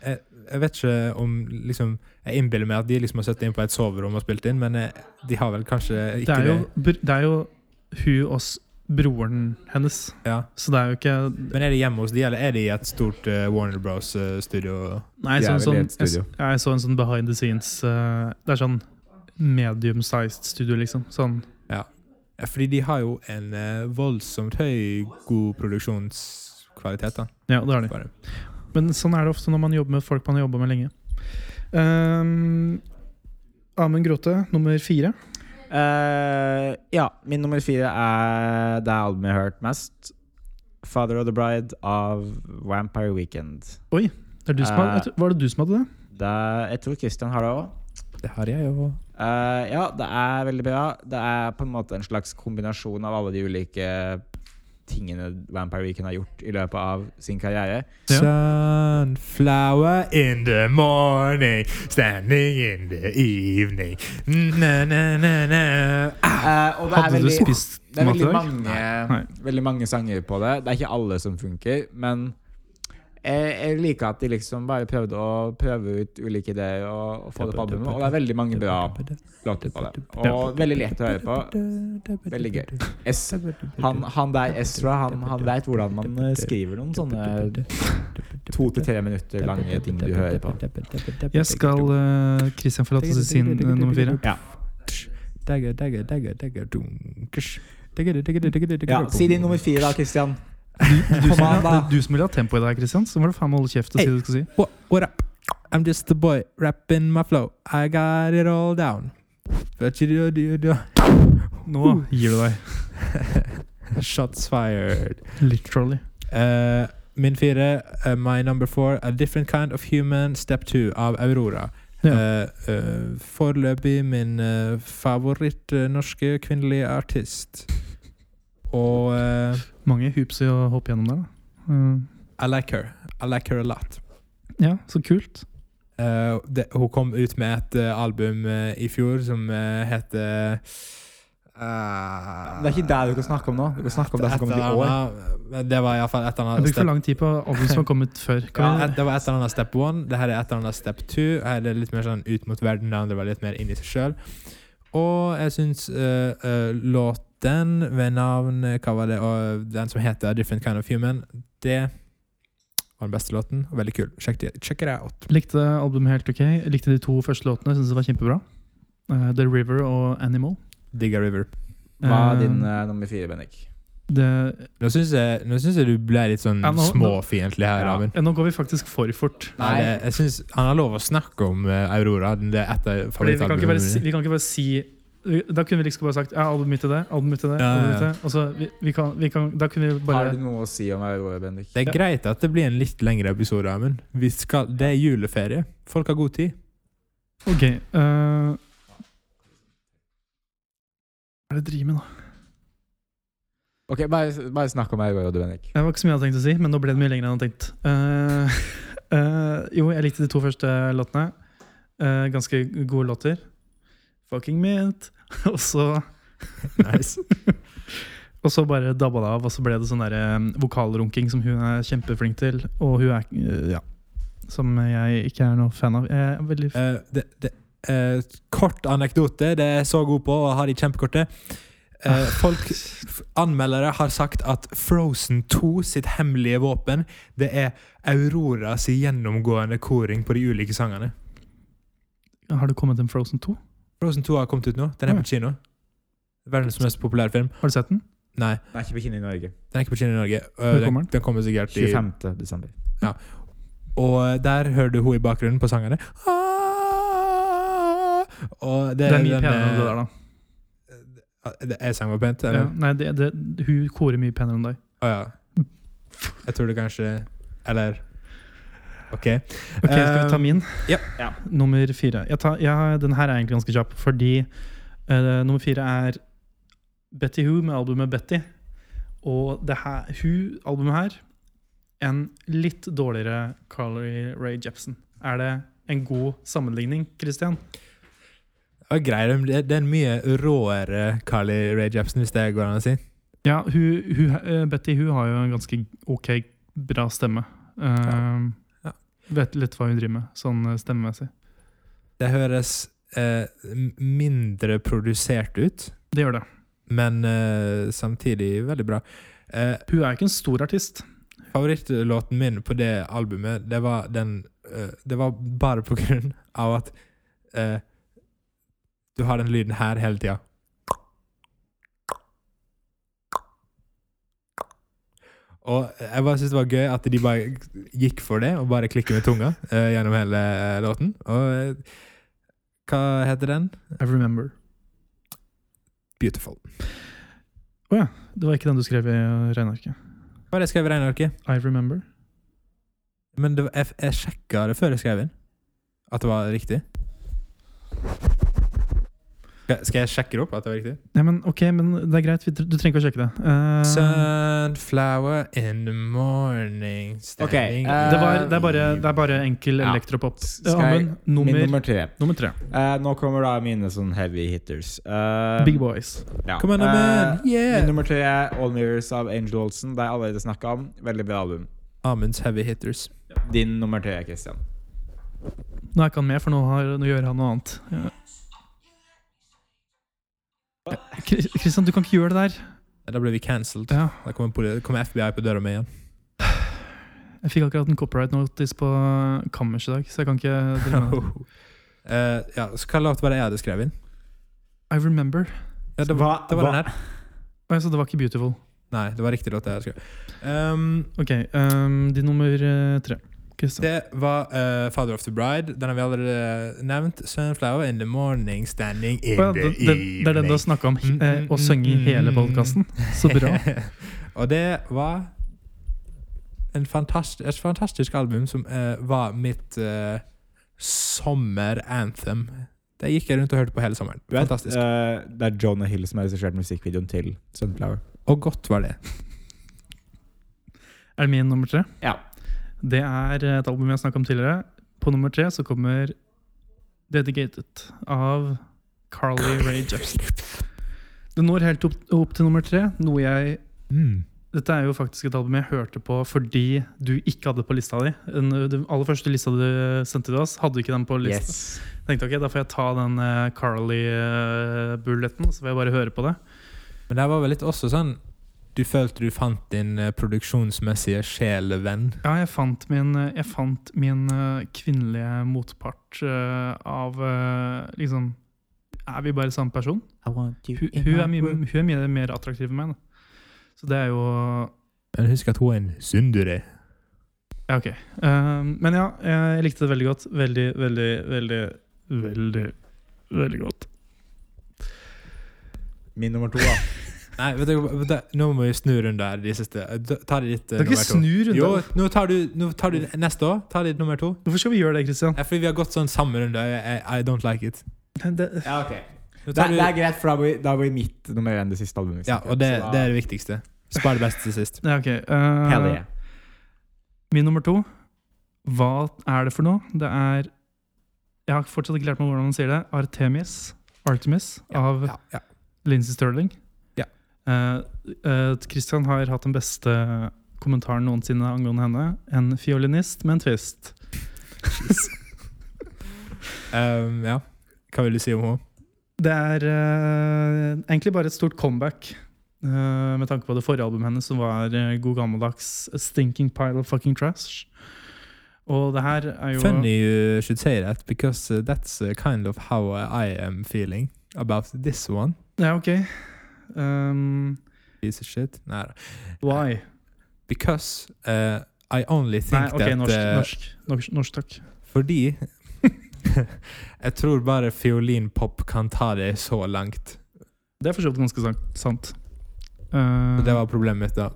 Jeg, jeg vet ikke om liksom Jeg innbiller meg at de liksom har sittet inn på et soverom og spilt inn, men eh, de har vel kanskje det, ikke er jo, br- det er jo hun og s- broren hennes, Ja. så det er jo ikke Men er de hjemme hos de, eller er de i et stort eh, Warner Bros.-studio? Nei, De er sånn, vel i sånn, et jeg, studio. s- ja, jeg så en sånn behind the scenes eh, Det er sånn medium-sized studio, liksom. Sånn. Ja, fordi de har jo en eh, voldsomt høy god produksjonskvalitet. da Ja, det har de. Bare. Men sånn er det ofte når man jobber med folk man har jobba med lenge. Ehm, Amund Gråte, nummer fire. Eh, ja, min nummer fire er det albumet jeg har hørt mest. 'Father of the Bride' av Vampire Weekend. Det er du som har, Eh. jeg tror- var det du som hadde det? Det, jeg tror Christian har det òg. Det har jeg jo. Eh, ja, det er veldig bra. Det er på en måte en slags kombinasjon av alle de ulike tingene Vampire Weekend har gjort i løpet av sin karriere. Ja. Sunflower in the morning, standing in the evening na, na, na, na. Eh, og det er Hadde du veldig, spist det er mat i veldig dag? mange, Nei. veldig mange sanger på det. Det er ikke alle som funker, men jeg, jeg liker at de liksom bare prøvde å prøve ut ulike ideer og, og få det på albumet. Og det er veldig mange bra låter på det. Og veldig lett å høre på. Veldig gøy. Es, han, han der Ezra, han, han veit hvordan man eh, skriver noen sånne to til tre minutter lange ting du hører på. Jeg skal eh, Christian forlate sin eh, nummer fire. Ja. Dagger, dagger, dagger, dagger, dunkish. Dagger, dagger, dagger, dagger, ja, dagger, Si din nummer fire, da, Christian. Du som, Kom an, det da. er du som vil ha tempo i dag, Christian. Så må du faen meg holde kjeft og si det du skal si. What, what up? I'm just a boy rapping my flow. I got it all down. But you do, do, do. Nå Uh. gir du deg. Shots fired. Literally. Eh, min fire, eh, my number four, A Different Kind of Human, Step Two av Aurora. Ja. Eh, eh, foreløpig min eh, favoritt eh, norske kvinnelige artist. Og eh, Mange hoops i å hoppe gjennom der, da. Eh, I like her. I like her a lot. ja, så kult. Eh, det, hun kom ut med et eh, album eh, i fjor som eh, heter Det er ikke det du kan snakke om nå. Du kan snakke om det som kommer til i år. Det var iallfall et eller Jeg annet brukte for lang tid på album som har kommet før. Ja, Kan vi- et- det var et eller annet step one. Det her er et eller annet step two. Her er det litt mer sånn ut mot verden. Det andre var litt mer inn i seg sjøl. Og jeg syns eh, eh, låten ved navn eh, Hva var det? Og den som heter A Different Kind of Human, det var den beste låten. og Veldig kul. Sjekk det sjekk det out. Likte albumet helt ok. Likte de to første låtene. Syns det var kjempebra. Eh, The River og Animal. Digga River. Hva er din Eh, eh, nummer fire, Bennik? det, Nå syns jeg, nå synes jeg du ble litt sånn Ja, nå- nå- småfiendtlig her, Ja. Amund. ja, eh, nå går vi faktisk for fort. Nei, Nei. det- Jeg synes Han har lov å snakke om eh, Aurora. Det er et av Fordi vi kan ikke bare si, favorittalbumene. vi kan ikke bare si da kunne vi liksom bare sagt ja, albumet mitt er det, albumet mitt er det. Ja, ja, albumet mitt ja. er det. Og så vi, vi kan, vi kan, da kunne vi Har bare du noe å si om Aurora, Bendik? Det er greit at det blir en litt lengre episode, Amund. Vi skal- Det er juleferie. Folk har god tid. Ok. eh, Hva er det jeg driver med nå? Ok, bare, bare snakk om Aurora, du, Bendik. Det var ikke så mye jeg hadde tenkt å si, men nå ble det mye lenger enn jeg hadde tenkt. Eh, eh, jo, jeg likte de to første låtene. Eh, ganske gode låter. Fucking mint. og, så, Nice. og så bare dabba det av, og så ble det sånn der, eh, vokalrunking som hun er kjempeflink til. Og hun er eh, Ja. Som jeg ikke er noe fan av. Jeg er veldig Eh, det, det, eh, kort anekdote. Det er jeg så god på og har de kjempekorte. Ah. Eh, folk, f- anmeldere har sagt at Frozen 2 sitt hemmelige våpen Det er Auroras gjennomgående koring på de ulike sangene. Ah. Har det kommet en Frozen 2? Frozen 2 har kommet ut nå. Den er på kino. Verdens mest populære film. Har du sett den? Nei, Den er ikke på kino i Norge. den er ikke på kino i Norge. Eh, Når kommer den, den? den kommer sikkert i 25. desember. Og øh, der hører du hun i bakgrunnen på sangene. Ah! Og det, Det er mye den, penere enn det eh, der, da. Det jeg sang var pent, eller? Ja, nei, det, det, hun korer mye penere enn deg. Å ja. Jeg tror det kanskje Eller OK. Ok, Skal vi ta Eh, min? ja. Ja. Nummer fire. Jeg tar, jeg, den her er egentlig ganske kjapp, fordi eh, nummer fire er Betty Who med albumet Betty. Og det her, Who-albumet her En litt dårligere Carly Rae Jepsen. Er det en god sammenligning, Christian. Og greier, det det er en mye råere Carly Rae Jepsen, hvis det går an å si. Ja, hun, hun, eh, Betty hun har jo en ganske ok, bra stemme. Eh, Ja. Vet litt hva hun driver med, sånn eh, stemmemessig. Det høres øh, eh, m- mindre produsert ut, Det gjør det. men øh, eh, samtidig veldig bra. Eh, Hun er jo ikke en stor artist. Favorittlåten min på det albumet, det var den eh, Det var bare på grunn av at eh, du har den lyden her hele tida. Og jeg bare syntes det var gøy at de bare gikk for det, og bare klikker med tunga eh, gjennom hele eh, låten. Og eh, hva heter den? I remember. Beautiful. Det var ikke den du skrev i eh, regnearket. Hva var det jeg skrev i regnearket? I remember. Men det var, jeg, jeg sjekka det før jeg skrev inn, at det var riktig. Skal skal jeg sjekke det opp at det var riktig? Ja, men ok, men det er greit. Vi tr- Du trenger ikke å sjekke det. Eh, Sunflower in the morning standing eh, det, var, det, er bare, det er bare enkel Ja. elektropop. Skal Ja, jeg- men nummer, Min nummer tre. nummer tre. Eh, nå kommer da mine sånn heavy hitters. Eh, Big Boys. ja. Come on, Eh, man! Min Yeah! nummer tre er All Mirrors av Angel Olsen. Det har jeg allerede snakka om. Veldig bra album. Amunds heavy hitters. Din nummer tre, Christian. Nå er ikke han med, for nå, har, nå gjør han noe annet. Ja. Eh, Kri- Kristian, du kan ikke gjøre det der. Da ble vi cancelled. Ja. Da kommer poli- kommer FBI på døra mi igjen. Jeg fikk akkurat en copyright notice på eh, kammers i dag, så jeg kan ikke drive med det. Eh, ja, så hva låt var det jeg hadde skrevet inn? I remember. Ja, det, var, Hva- det var hva- den her. Å, jeg sa det var ikke beautiful. Nei, det var riktig låt jeg hadde skrevet. Um, Ok, um, de nummer eh, tre. Kristian. Det var eh, Father of the Bride. Den har vi allerede nevnt. Sunflower in the morning, standing in Å, ja, the det, det, det er den du har snakka om Mm, eh, mm, å synge i mm, hele mm. podkasten. Så bra. Og det var en fantastisk, et fantastisk album som eh, var mitt eh, sommer-anthem. Det gikk jeg rundt og hørte på hele sommeren. Du vet, Fantastisk. eh, det er Jonah Hill som har regissert musikkvideoen til Sunflower. Og godt var det. Er det min nummer tre? Ja. Det er et album jeg har snakka om tidligere. På nummer tre så kommer Dedicated av Carly Rae Jepsen. Det når helt opp, opp til nummer tre, noe jeg Mm. Dette er jo faktisk et album jeg hørte på fordi du ikke hadde det på lista di. Den, den aller første lista du sendte til oss, hadde ikke den på lista. Yes. Tenkte ok, da får jeg ta den eh, Carly-bulleten, så får jeg bare høre på det. Men det her var vel litt også sånn Du følte du fant din eh, produksjonsmessige sjelevenn. Ja, jeg fant min, jeg fant min eh, kvinnelige motpart eh, av eh, liksom Er vi bare samme person? Hun, hun, er, mye, hun er mye mer attraktiv enn meg. Da. Så det er jo Men husk at hun er en syndere. Ja, ok. Eh, men ja, jeg likte det veldig godt. Veldig, veldig, veldig, veldig, veldig godt. Min nummer to, da. Nei, vet du, vet du, nå må vi snu rundt der. De siste. Ta det ditt eh, Du kan ikke nummer to. snu rundt. Jo, da. nå tar du, nå tar du neste år. Ta ditt nummer to. Hvorfor skal vi gjøre det, Christian? Nei, fordi vi har gått sånn samme runde. I, I don't like it. Det, Ja, ok. Nå Det, tar er- du, det er greit, for da blir, da blir mitt nummer én det siste albumet. vi ja, snakker om, og det, så da- det er det viktigste. Spar det beste til sist. ja, ok. eh, Hell yeah. Min nummer to Hva er det for noe? Det er Jeg har fortsatt ikke lært meg hvordan man sier det. Artemis. Artemis av Ja, ja. Lindsey Sterling. Ja. Eh, eh, Christian har hatt den beste kommentaren noensinne angående henne. En fiolinist med en twist. Um, ja. Hva vil du si om henne? Det er eh, egentlig bare et stort comeback. eh, med tanke på det forrige albumet hennes, som var eh, god gammeldags 'Stinking Pile of Fucking Trash'. Og det her er jo Funny you should say that, because uh, that's uh, kind of how uh, I am feeling about this one. Ja, ok. Um, Piece of shit. Nei da. why? Because uh, I only Nei, think ok, that norsk, uh, norsk, norsk, norsk takk. Fordi Jeg tror bare fiolinpop kan ta det så langt. Det er for så vidt ganske sant. sant. Eh, Og det var problemet mitt da.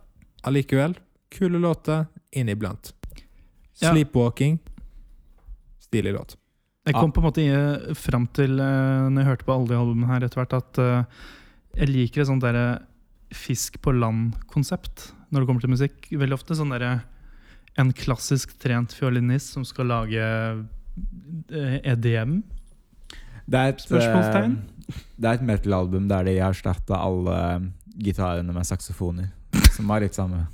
Allikevel, kule låter inniblant. Ja. Sleepwalking. Stilig låt. jeg kom på en måte eh, fram til, eh, når jeg hørte på alle de albumene her etter hvert, at eh, jeg liker et sånt derre fisk på land-konsept når det kommer til musikk. Veldig ofte sånn derre en klassisk trent fiolinist som skal lage eh, EDM? Det er et, Spørsmålstegn? eh, Det er et metal-album der de har erstatta alle um, gitarene med saksofoner. Som var litt samme.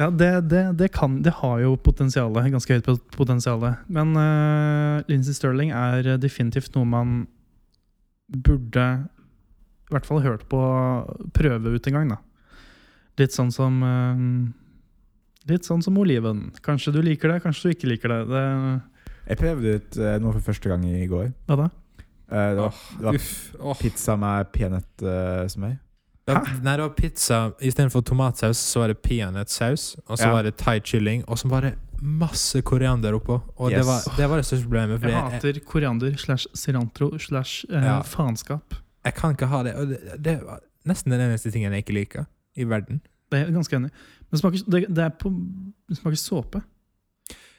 Ja, det, det, det, kan, det har jo potensialet, ganske høyt pot- potensiale. Men uh, Lincy Sterling er definitivt noe man burde i hvert fall hørt på prøve ut en gang, da. Litt sånn som eh, Litt sånn som oliven. Kanskje du liker det, kanskje du ikke liker det. det Jeg prøvde ut eh, noe for første gang i går. hva da? Eh, det var det var Uff. Åh. pizza med eh, peanøttsmør. Ja, Nei, det var pizza istedenfor tomatsaus, så var det peanøttsaus. Og så Ja. var det thai kylling, og så var det masse koriander oppå. Og det, Yes. var, det var det største problemet, for Jeg jeg, jeg, hater koriander slash cilantro slash eh, Ja. faenskap. jeg kan ikke ha det. Og det, det var nesten den eneste tingen jeg ikke liker i verden. Det er jeg ganske enig i. Men det smaker, det, det, er på, det smaker såpe.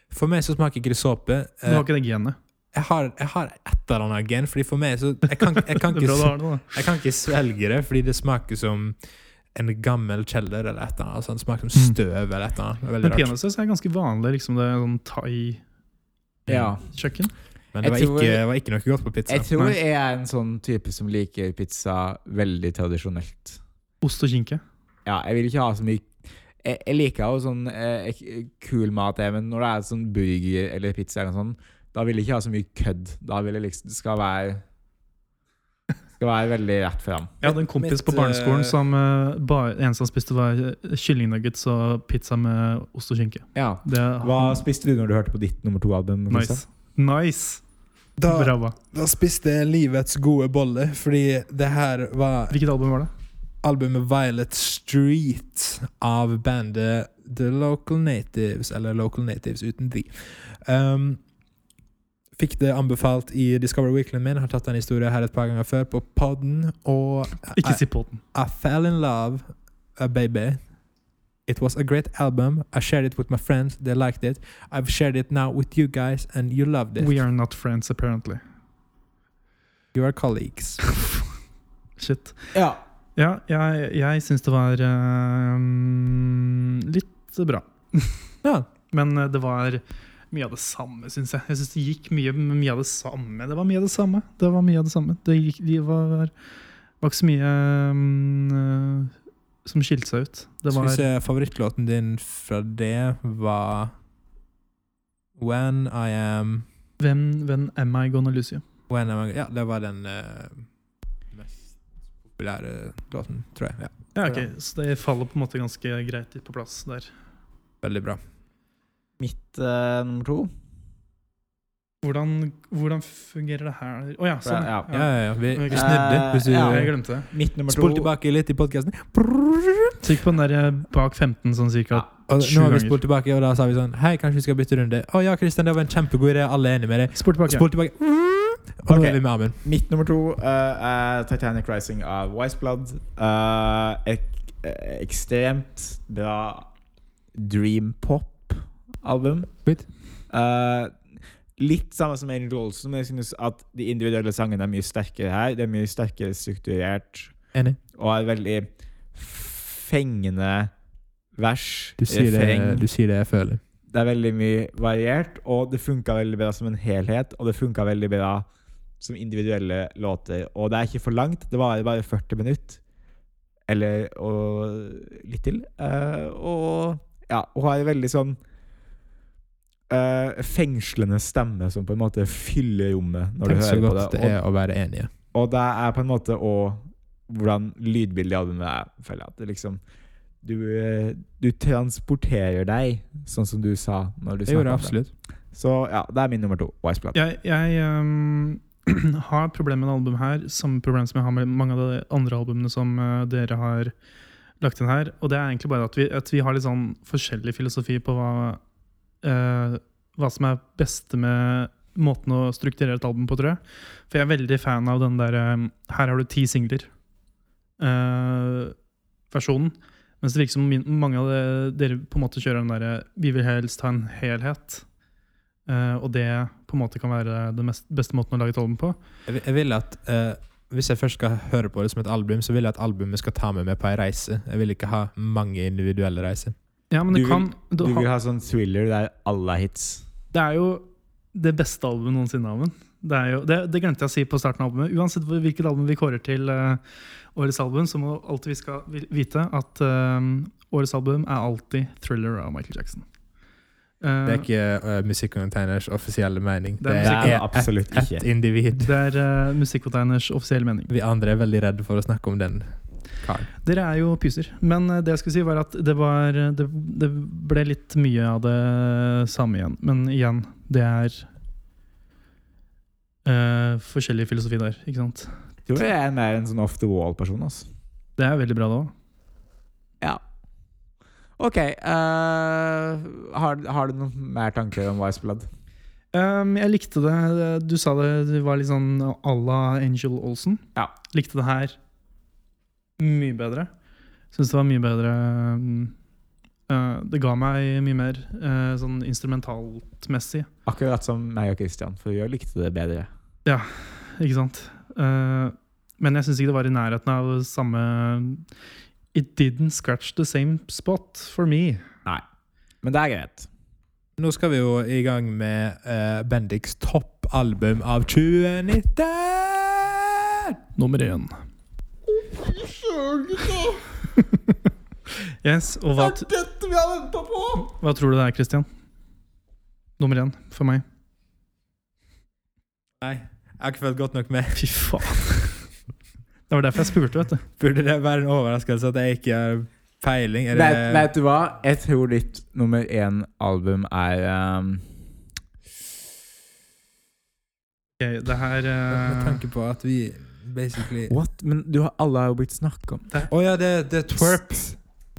For meg så smaker ikke det såpe. Du Eh, har ikke det genet. Jeg har, jeg har et eller annet gen, fordi for meg så Jeg kan, jeg kan, Det er ikke, bra du har det, da. jeg kan ikke svelge det, fordi det smaker som en gammel kjeller eller et eller annet. Altså, det smaker som Mm. støv eller et eller annet. Det er Men Veldig rart. peanøttsaus er ganske vanlig. liksom Det er sånn thai-kjøkken. Ja. Men det var Jeg tror- ikke, det var ikke noe godt på pizza. Jeg tror Nei. jeg er en sånn type som liker pizza veldig tradisjonelt. Ost og skinke. Ja, jeg vil ikke ha så mye Jeg, jeg liker jo sånn eh, ek- kul mat, jeg, men når det er sånn burger eller pizza eller noe sånt, da vil jeg ikke ha så mye kødd. Da vil jeg liksom Det skal være Skal være veldig rett fram. Jeg hadde en kompis mitt, på barneskolen eh, som eh, bare, en som spiste, var eh, kyllingnuggets og pizza med ost og skinke. Ja. Det er Hva spiste du når du hørte på ditt nummer to-album? nice. Nice! Brava. Da spiste jeg livets gode bolle, fordi det her var Hvilket album var det? albumet Violet Street av bandet The Local Natives, eller Local Natives uten de. Um, fikk det anbefalt i Discover Weekland min, har tatt den historien her et par ganger før på podden, og Ikke si på den. I fell in love, uh, baby. It was a great album. I shared it with my friends. They liked it. I've shared it now with you guys, and you loved it. We are not friends, apparently. You are colleagues. Shit. Ja. Ja, jeg, jeg syns det var eh, litt bra. ja. Men eh, det var mye av det samme, syns jeg. Jeg synes Det gikk mye, mye av det samme. Det var mye av det samme. Det var mye av det samme. Det gikk, de var, var ikke så mye mm, eh, som skilte seg ut. Det Skal vi var se, favorittlåten din fra det var When I Am hvem, hvem am I gonna lose you? When Am I Ja, det var den eh, mest populære låten, tror jeg. Ja, Ja, ok, Så det faller på en måte ganske greit på plass der. veldig bra. Mitt eh, nummer to? Hvordan, hvordan fungerer det her? Å ja, sånn. Ja, Ja, ja, ja. Vi, Ok. vi snudde. Hvis du Eh, ja. Jeg glemte det. Mitt nummer Spol to tilbake litt i podkasten. Trykk på den der eh, bak 15, sånn cirka. Og Sju nå har vi ganger. spolt tilbake, og da sa vi sånn Hei, kanskje vi skal bytte runde? Å ja, Kristian, det var en kjempegod idé. Alle er enige med deg. Spol tilbake. Spol tilbake. Og nå Ok. er vi med Amund. Mitt nummer to eh, er Titanic Rising av Wiseblood. Uh, ek eh, ekstremt bra dream pop-album. Fint. Eh, litt samme som Angel Olsen, men jeg synes at de individuelle sangene er mye sterkere her. Det er mye sterkere strukturert Enig. og er veldig fengende vers. Du sier, det, refreng. du sier det jeg føler. Det er veldig mye variert, og det funka veldig bra som en helhet. Og det funka veldig bra som individuelle låter. Og det er ikke for langt. Det varer bare 40 minutter. Eller og litt til. Eh, og ja, hun har en veldig sånn eh, fengslende stemme som på en måte fyller rommet når Tenk du så hører på det. godt det Og- er å være enige. og det er på en måte òg hvordan lydbildet i albumet er, føler jeg. At det liksom du, eh, du transporterer deg, sånn som du sa når du snakket Det gjorde jeg om det. absolutt. Så ja, det er min nummer to. Wiseblad. Jeg, jeg ehm, har et problem med det albumet her, samme problem som jeg har med mange av de andre albumene som eh, dere har lagt inn her. Og det er egentlig bare at vi, at vi har litt sånn forskjellig filosofi på hva, eh, hva som er beste med måten å strukturere et album på, tror jeg. For jeg er veldig fan av den der eh, Her har du ti singler. eh, versjonen. Mens det virker som min- mange av de- dere på en måte kjører den derre Vi vil helst ha en helhet. Eh, og det på en måte kan være den mest, beste måten å lage et album på. Jeg, vil- jeg vil at eh, Hvis jeg først skal høre på det som et album, så vil jeg at albumet skal ta med meg på ei reise. Jeg vil ikke ha mange individuelle reiser. Ja, men det Du vil- kan Du ha- vil ha sånn thriller der alle er hits. Det er jo det beste albumet noensinne av den. Det, er jo, det, det glemte jeg å si på starten av albumet. Uansett hvor- hvilket album vi kårer til eh, årets album, så må alltid vi skal vi- vite at eh, årets album er alltid 'Thriller' av Michael Jackson. Eh, Det er ikke uh, musikkontainers offisielle mening. Det er Det er, Det er det ett absolutt et ikke. individ. det er eh, musikkcontainers offisielle mening. Vi andre er veldig redde for å snakke om den karen. Dere er jo pyser. Men eh, det jeg skulle si var at det, var, eh, det, det ble litt mye av det samme igjen. Men igjen, det er eh, forskjellig filosofi der, ikke sant? Jeg tror jeg er mer en sånn off the wall-person. Altså. Det er veldig bra, det òg. Ja. OK. eh, har, har du noen mer tanker om Wise Blood? Um, jeg likte det. Du sa det, det var litt sånn à la Angel Olsen. Ja. Likte det her mye bedre. Syns det var mye bedre um, eh, Det ga meg mye mer eh, sånn instrumentalt messig, Akkurat som meg og Christian, for jeg likte det bedre. ikke sant? Eh, men jeg syns ikke det var i nærheten av samme It didn't scratch the same spot for me. Men det er greit. Nå skal vi jo i gang med eh, Bendiks toppalbum av 2019! Nummer én. Yes, og hva, t- dette vi har venta på! hva tror du det er, Christian? Nummer én for meg. Nei, jeg har ikke følt godt nok med. Fy faen. Det var derfor jeg spurte, vet du. Burde det være en overraskelse at jeg ikke har peiling? Er det, Vet, vet du hva? Jeg tror ditt nummer én-album er um, Ok, det her Med eh, tanke på at vi basically Å What? Men du har, alle har jo blitt snakka om. ja, det, det er twerp.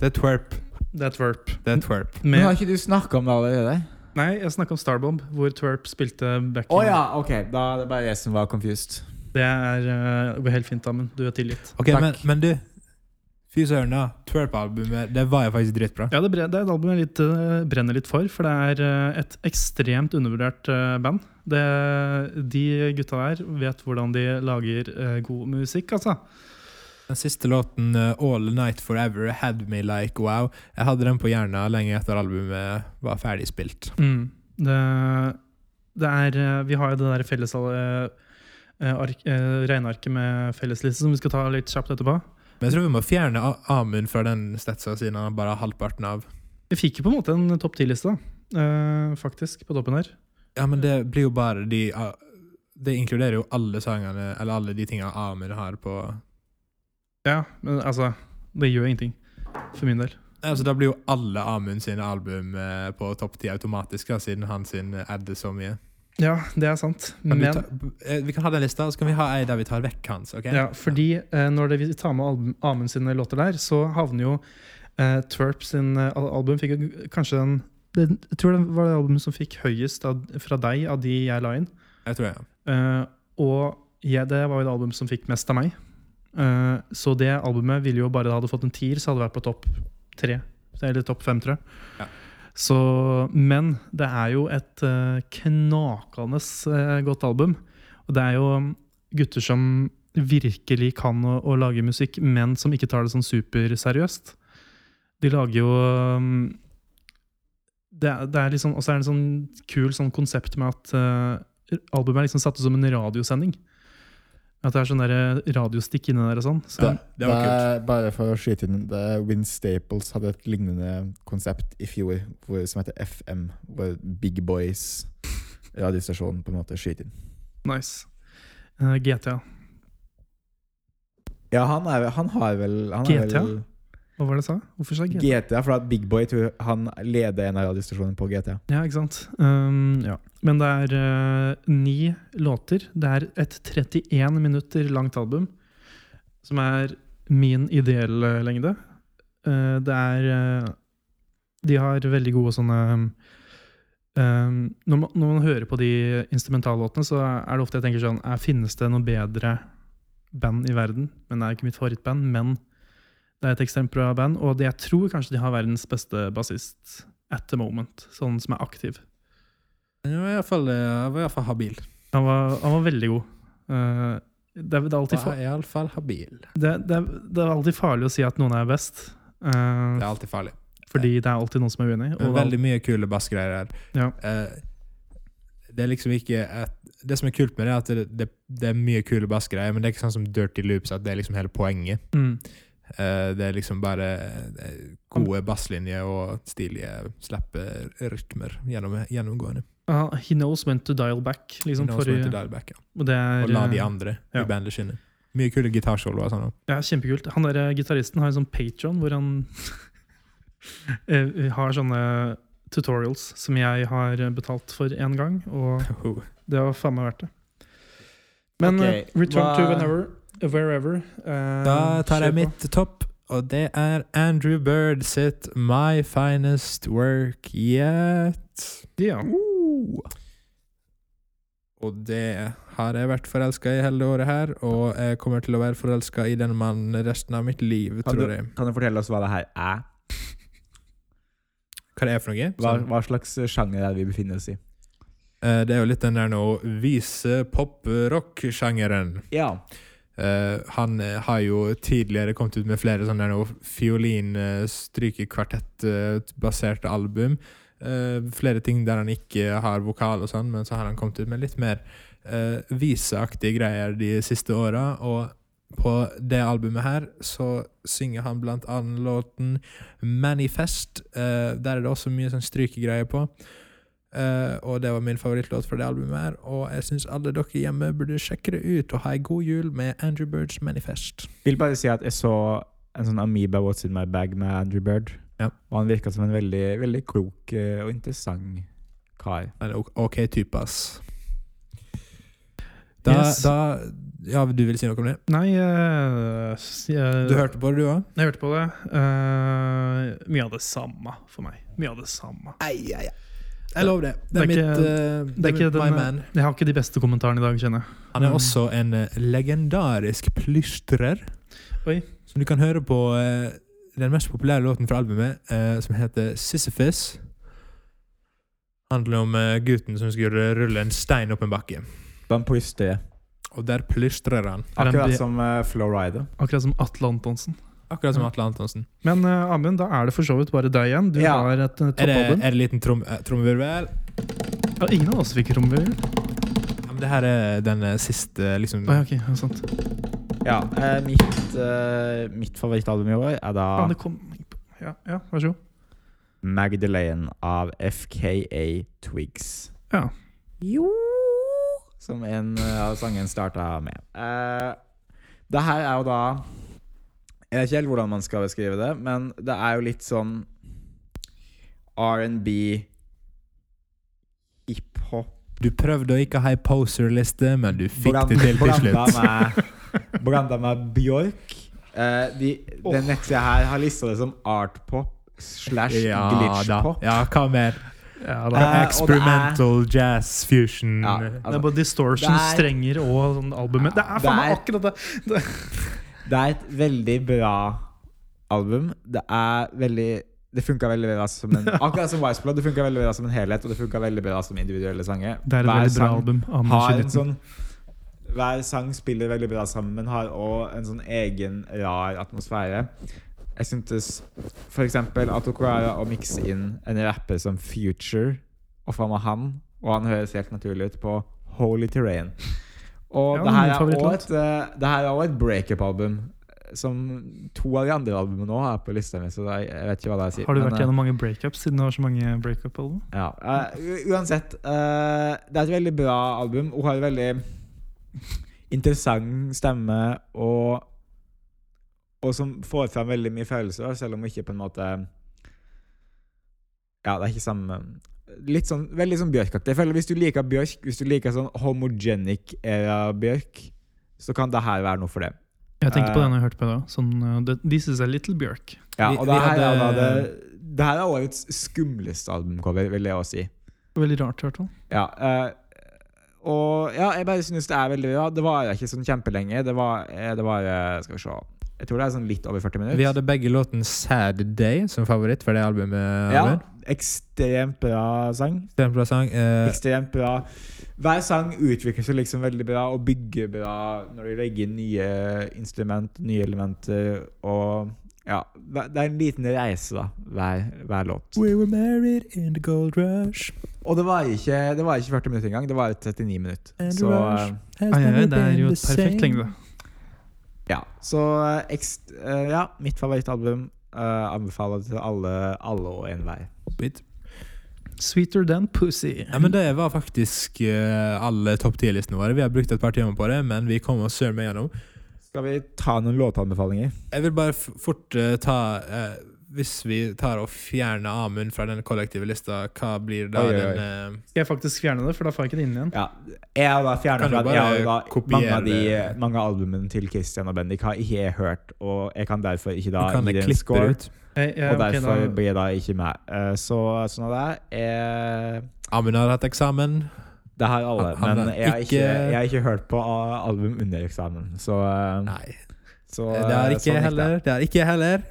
Det er twerp. Det er Twerp. Det er twerp. Men har Med, ikke du snakka om det allerede? nei, jeg snakka om Starbomb, hvor Twerp spilte back Å ja, OK. Da er det bare jeg som var confused. Det er, eh, går helt fint, Amund. Du er tilgitt. Ok, men, men du Fy søren, da. Twerp-albumet, det var jo faktisk dritbra. Ja, det, bre- det er et album jeg litt, eh, brenner litt for, for det er eh, et ekstremt undervurdert eh, band. Det, de gutta der vet hvordan de lager eh, god musikk, altså. Den siste låten, eh, 'All Night Forever', had me like wow. Jeg hadde den på hjernen lenge etter albumet var ferdig spilt. Mm. Det, det er eh, Vi har jo det der felles eh, eh, ark, eh, regnearket med fellesliste som vi skal ta litt kjapt etterpå. Men jeg tror vi må fjerne A- Amund fra den stetsa, siden han bare har halvparten av. Vi fikk jo på en måte en topp ti-liste, da. Eh, faktisk, på toppen her. Ja, men det blir jo bare de ah, Det inkluderer jo alle sangene, eller alle de tinga Amund har på Ja, men altså Det gjør ingenting, for min del. Altså, Da blir jo alle Amund sine album eh, på topp ti automatisk, da, siden han sin eh, adder så mye. Ja, det er sant. Kan du Men ta, eh, vi kan ha den lista, og så kan vi ha ei der vi tar vekk hans. ok? Ja, fordi eh, når det, vi tar med album, Amund sine låter der, så havner jo eh, Twerp sin eh, al- album fikk jo kanskje den den- jeg tror det var det albumet som fikk høyest av, fra deg av de jeg la inn. Jeg tror jeg. Eh, og jeg, det var jo det albumet som fikk mest av meg. Eh, så det albumet ville jo bare det hadde fått en tier, så hadde det vært på topp tre. Eller topp fem, tror jeg. Ja. Så, men det er jo et eh, knakende eh, godt album. Og det er jo um, gutter som virkelig kan å, å lage musikk, men som ikke tar det sånn superseriøst. De lager jo um, det, er- det er liksom, Og så er det en sånn kul sånn konsept med at eh, albumet er liksom satt ut som en radiosending. At det er sånn der radiostikk inni der og sånn. Så, Det, det var kult. er Bare for å skyte inn det, Win Staples hadde et lignende konsept i fjor hvor, som heter FM, hvor Big Boys radiostasjonen på en måte skyter inn. nice. Eh, GTA. Ja, han, er, han har vel han er GTA? Vel, Hva var det jeg sa? Hvorfor sa jeg GTA? GTA, for at Big Boy tror han leder en av radiostasjonene på GTA. Ja, ikke sant. Um, ja. Men det er eh, ni låter. Det er et 31 minutter langt album, som er min ideelle lengde. Eh, det er eh, De har veldig gode sånne um, når, man, når man hører på de instrumentallåtene, så er det ofte jeg tenker sånn eh, Finnes det noe bedre band i verden? Men det er ikke mitt favorittband. Men det er et ekstremt bra band, og det jeg tror kanskje de har verdens beste bassist at the moment, sånn som er aktiv. Jeg var iallfall, jeg eh, var iallfall habil. Han var, han var veldig god. Eh, det, er, det, er alltid fa Var iallfall habil. det, er- det, er, det er alltid farlig å si at noen er best, eh, Det er alltid farlig. fordi det er alltid noen som er uenig. Men Og veldig mye kule bassgreier her. Ja. Eh, det er liksom ikke et, Det som er kult med det, er at det, det, det er mye kule bassgreier, men det er ikke sånn som Dirty Loops, at det er liksom hele poenget. Mm. Eh, det er liksom bare eh, gode basslinjer og stilige slapperytmer gjennom, gjennomgående. Ah, he knows when to dial back. Liksom, Noe som forrige- heter Dialback, ja. og det er, eh, Og la de andre ja. i bandet skinne. Mye kule gitarsoloer. Sånn. også. Ja, kjempekult. Han der eh, gitaristen har en sånn Patron hvor han eh, har sånne tutorials som jeg har betalt for én gang, og det var faen meg verdt det. Men Ok, eh, Return to hva- Whenever, eh, Wherever eh, Da tar jeg kjør på. mitt topp, og det er Andrew Bird sitt My Finest Work Yet. Ja. Og det har jeg vært forelska i hele det året her, og jeg kommer til å være forelska i den mannen resten av mitt liv, Kan tror jeg. Kan du fortelle oss hva det her er? Hva det er for noe? Hva, Sånn, hva slags sjanger er det vi befinner oss i? eh, det er jo litt den der nå vise pop-rock-sjangeren. Ja. Eh, han eh, har jo tidligere kommet ut med flere sånne der nå eh, fiolin-strykekvartett-baserte eh, album. Eh, flere ting der han ikke har vokal og sånn, men så har han kommet ut med litt mer eh, viseaktige greier de siste åra. Og på det albumet her så synger han blant annet låten 'Manifest'. Eh, der er det også mye sånn strykegreier på. Eh, og det var min favorittlåt fra det albumet her. Og jeg syns alle dere hjemme burde sjekke det ut og ha ei god jul med Andrew Birds Manifest. Vil bare si at jeg så en sånn Amoeba What's In My Bag med Andrew Bird. Ja. Og han virka som en veldig, veldig klok eh, og interessant kar. Han er ok- OK type, ass. Da, Yes. da Ja, du vil si noe om det? Nei eh, s- jeg, Du hørte på det, du òg? jeg hørte på det. Eh, mye av det samme for meg. Mye av det samme. Jeg lover det. Det er, Det er mitt ikke- eh, det er det er ikke my den- man. Jeg har ikke de beste kommentarene i dag, kjenner jeg. Han er Mm. også en eh, legendarisk plystrer. Oi. Som du kan høre på eh, den mest populære låten fra albumet, eh, som heter Sisyphus. Handler om eh, gutten som skulle rulle en stein opp en bakke. Han plystrer. Og der plystrer han. Er han Akkurat bi- som uh, Flo Rida. Akkurat som Atle Antonsen. Akkurat som Ja. Atle Antonsen. Men eh, Amund, da er det for så vidt bare deg igjen. Du Ja. har et uh, Er det, toppalbum. er det liten trom, eh, trommevirvel? Ja, ingen av oss fikk romvirvel. Ja, men det her er den eh, siste, liksom. Ah, ja, ok, ja, sant. Ja, eh, mitt, eh, mitt favorittalbum i år er da Ja, det kom Ja, ja vær så god. Magdalene av FKA Twigs. Ja. Jo Som en eh, av sangen starta med. Uh, det her er jo da Jeg vet ikke helt hvordan man skal beskrive det, men det er jo litt sånn R&B, hiphop Du prøvde å ikke ha ei poser-liste, men du fikk Bland- det til til blanda slutt. Med, blanda med Bjork. Eh, de, Den nettsida her har lista det som artpop slash Ja da. Mm. glitchpop. Ja, hva mer? Ja, da. Eh, og det er- Experimental jazz fusion. Ja, det altså, er både distortion, Det er- strenger og sånn albumet. Det er faen meg Det er- akkurat det! Det er et veldig bra album. Det er veldig Det funka veldig bra som en Akkurat som Wiseblood. Det funka veldig bra som en helhet, og det funka veldig bra som individuelle sanger. Det er et veldig Hver bra sang album. Amund Har en Kilden. sånn Hver sang spiller veldig bra sammen, men har òg en sånn egen rar atmosfære. Jeg syntes f.eks. at hun klarer å mikse inn en rapper som Future, og faen meg han, og han høres helt naturlig ut på Holy Terrain. Og Ja, det her min er også favorittlåt. et, eh, det her er også et breakup-album. Som to av de andre albumene nå er på lista mi, så det er- jeg vet ikke hva det er jeg sier. Har du men, vært eh, gjennom mange breakups siden du har så mange breakup-album? ja. eh, u- uansett, eh, det er et veldig bra album. Hun har en veldig interessant stemme, og, og som får fram veldig mye følelser, selv om hun ikke på en måte Ja, det er ikke samme Litt sånn, Veldig sånn Bjørk-aktig. Jeg føler Hvis du liker Bjørk, hvis du liker sånn homogenic era Bjørk, så kan det her være noe for det. Jeg tenkte på Eh. den jeg hørte på i dag. Sånn, uh, det- This is a little Bjørk. Ja, Vi- og vi det her, er, hadde- da det, det her er årets skumleste albumcover, vil jeg også si. Veldig rart, i hvert fall. Ja, eh, og ja, jeg bare synes det er veldig bra. Det varer ikke sånn kjempelenge. Det var, eh, det var eh, Skal vi se Jeg tror det er sånn litt over 40 minutter. Vi hadde begge låten Sad Day som favoritt for det albumet. ja, Arvid. ekstremt bra sang. Ekstremt bra sang. Eh, Ekstremt bra. Hver sang utvikler seg liksom veldig bra og bygger bra når de legger inn nye instrument, nye elementer og Ja, det det er en liten reise, da, hver, hver låt. We were married in the gold rush. Og det var ikke, det var ikke 40 minutter engang, det var 39 minutter. And Så, rush. eh, Has Ai, ai, never det er been jo the et perfekt same. lengde. ja. Så eh, ekst, eh, ja, mitt favorittalbum. eh, anbefaler til alle, alle og enhver. Sweeter than pussy. Ja, men Det var faktisk eh, alle topp 10-listene våre. Vi har brukt et par timer på det, men vi kom oss søren meg gjennom. Skal vi ta noen låtanbefalinger? Jeg vil bare f fort eh, ta eh, Hvis vi tar og fjerner Amund fra den kollektive lista, hva blir da Oi, oi, oi. den eh, Skal jeg faktisk fjerne det, for da får jeg ikke det inn igjen? Ja, jeg har da Kan fjernet du fra bare jeg har jo da, kopiere mange, av de, eh, det? mange av albumene til Christian og Bendik har ikke jeg hørt, og jeg kan derfor ikke da Du kan gi det en klippe score. det Jeg, ut. jeg, Og Eh, ok, derfor da- blir jeg da ikke med. Eh, Så sånn av det er eh, Amund har hatt eksamen. Det har alle, Han- han men er jeg har ikke, ikke- jeg har ikke hørt på eh, album under eksamen, så, eh, Nei, så det eh, har ikke sånn jeg gikk heller. Det har ikke jeg heller.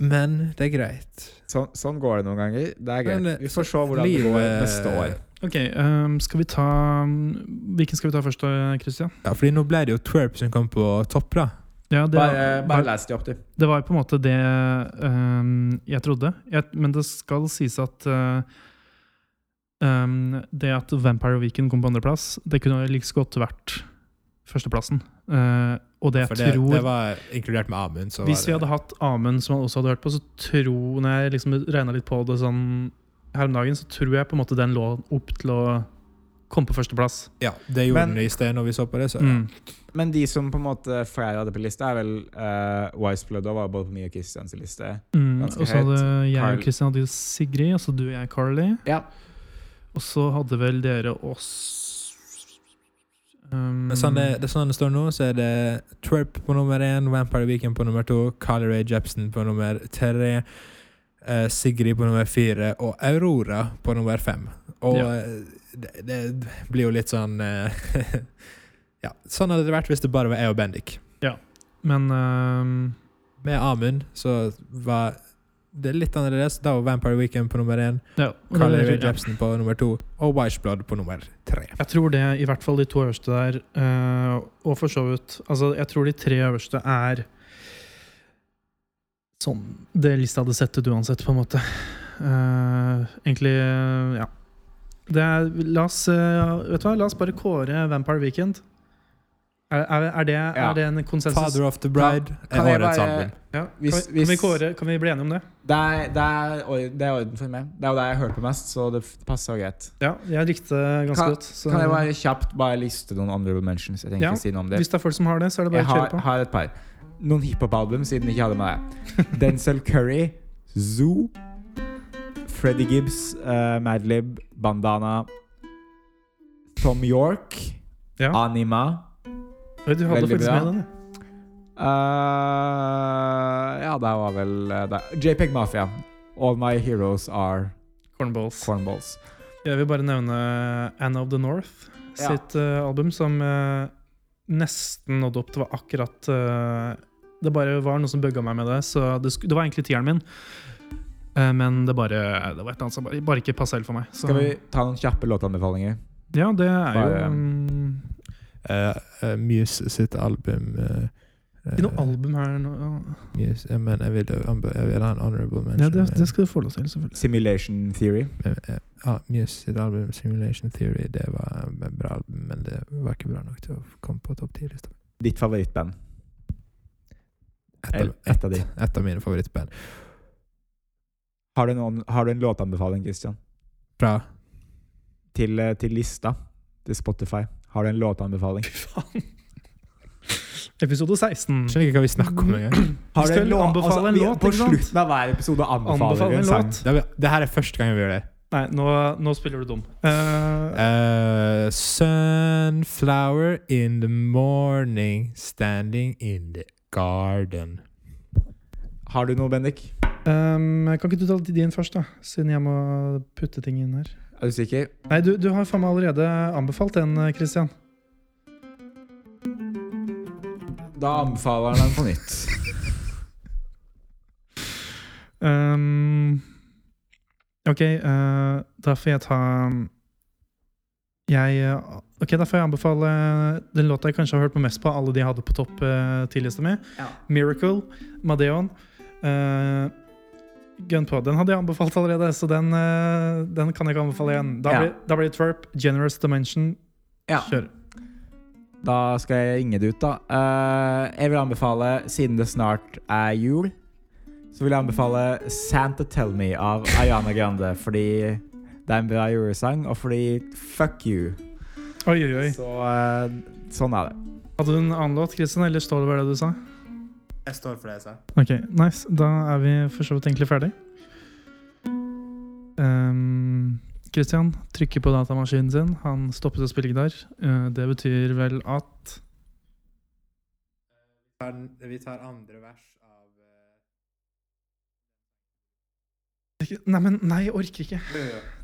Men det er greit. Sånn, sånn går det noen ganger. Det er Men, eh, greit. Vi får se hvordan det går livet- neste år. Ok, ehm, skal vi ta Hvilken skal vi ta først, da, Christian? Ja, fordi nå ble det jo Twerp som kom på topp, da. Ja, det, Bare, eh, bare var- les de opp, du. det var jo på en måte det ehm, jeg trodde. Jeg, men det skal sies at eh, ehm, det at Vampire Weekend kom på andreplass, det kunne jo like så godt vært førsteplassen. Eh, og det jeg For det, tror det var inkludert med Amund. så var Hvis vi det- hadde hatt Amund, som han også hadde hørt på, så tror Når jeg liksom regna litt på det sånn her om dagen, så tror jeg på en måte den lå opp til å komme på førsteplass. Ja, det gjorde Men- den i sted når vi så på det. Så. Mm. Men de som på en måte flere hadde på lista, er vel uh, Wise Blood og var både på min og Christians liste. Mm. Ganske Og så hadde jeg Carl- og Kristian hadde jo Sigrid, og så du og jeg Carly. Ja. Og så hadde vel dere oss um, Men sånn det, det er sånn det står nå, så er det Twerp på nummer én, Vampire Weekend på nummer to, Carly Rae Jepsen på nummer tre, eh, Sigrid på nummer fire og Aurora på nummer fem. Og Ja. eh, det, det blir jo litt sånn eh, Ja, sånn hadde det vært hvis det bare var jeg og Bendik. Men um, Med Amund så var det litt annerledes. Da var Vampire Weekend på nummer én, ja, og Carly det- Rae Jepsen på nummer to og Wiseblad på nummer tre. Jeg tror det, i hvert fall de to øverste der, eh, og for så vidt Altså, jeg tror de tre øverste er sånn Det lista hadde sett ut uansett, på en måte. Eh, egentlig, eh, ja. Det er, la oss eh, Vet du hva, la oss bare kåre Vampire Weekend. Er, er, er, det, Ja. er det en konsensus? Father of the Bride er Kan jeg årets bare- album. Ja. Hvis- kan, vi, kan, vi hvis- kåre, kan vi bli enige om det? Det er, det, er, or- det er orden for meg. Det er jo det jeg har hørt på mest, så det f- passer jo greit. Ja, jeg likte det ganske godt. Så, Kan jeg bare kjapt bare liste noen honorable mentions? Jeg trenger Ja, ikke si noe om det. hvis det er folk som har det, så er det Jeg bare å har, kjøre på. har et par. Noen hiphop-album, siden jeg ikke hadde med det. Denzel Curry, Zoo, Freddy Gibbs, eh, Madlib, Bandana, Tom York, Ja. Anima Oi, Du hadde Veldig faktisk bra. med den. ja. eh, Ja, det var vel eh, det. JPEG Mafia. All my heroes are Cornballs. cornballs. Jeg vil bare nevne Anne of the North Ja. sitt eh, album, som eh, nesten nådde opp. Det var akkurat eh, Det bare var noe som bugga meg med det, så det, sk det var egentlig tieren min. Eh, men det bare Det var et eller annet som bare, bare ikke passa helt for meg. Så. Skal vi ta noen kjappe låtanbefalinger? Ja, det er jo Bare- mm, Eh, eh, Muse sitt album eh, Ikke noe eh, album her nå. Muse, eh, Men jeg vil, anbe- jeg vil ha en honorable mention. Ja, det, eh, det skal du få lov til, selvfølgelig. Simulation Theory. eh, eh, ja, Muse sitt album Simulation Theory Det var et bra album, men det var ikke bra nok til å komme på topp 10-lista. Ditt favorittband. Et, av- Eller ett av de. et av mine favorittband. Har du, noen, har du en låtanbefaling, Christian? Fra Til, eh, til lista til Spotify. Har du en låtanbefaling? Fy faen. Episode 16. Skjønner ikke hva vi snakker om engang. Har skal lå- altså, anbefale en vi- låt, På ikke sant? slutten av hver episode anbefaler vi Anbefale en en sang. låt. Det, er- det her er første gang vi gjør det. Nei, nå, nå spiller du dum. Eh, Uh, Eh, sunflower in the morning, standing in the garden. Har du noe, Bendik? Ehm, kan ikke du ta din først, da? Siden jeg må putte ting inn her. Er du sikker? Nei, du, du har faen meg allerede anbefalt den, eh, Christian. Da anbefaler han den på nytt. Ehm, ok, eh, da får jeg ta Jeg, eh, ok, Da får jeg anbefale den låta jeg kanskje har hørt på mest på alle de jeg hadde på topp eh, tidligste mi. Ja. Miracle, Madeon. eh, Gun på. Den hadde jeg anbefalt allerede, så den, eh, den kan jeg ikke anbefale igjen. Da Ja. blir, da blir det Twerp, Generous Dimension. Ja. Kjør. Da skal jeg ringe det ut, da. Eh, jeg vil anbefale, siden det snart er jul, så vil jeg anbefale Santa Tell Me av Ayana Grande. Fordi det er en bra julesang, og fordi fuck you. Oi, oi, oi. Så eh, sånn er det. Hadde du en annen låt, Kristin, eller står det bare det du sa? Jeg står for det jeg sa. Ok, nice. Da er vi for så vidt egentlig ferdig. Ehm, Christian trykker på datamaskinen sin. Han stoppet å spille gitar. Eh, det betyr vel at Vi tar andre vers av eh, Nei, men nei, jeg orker ikke.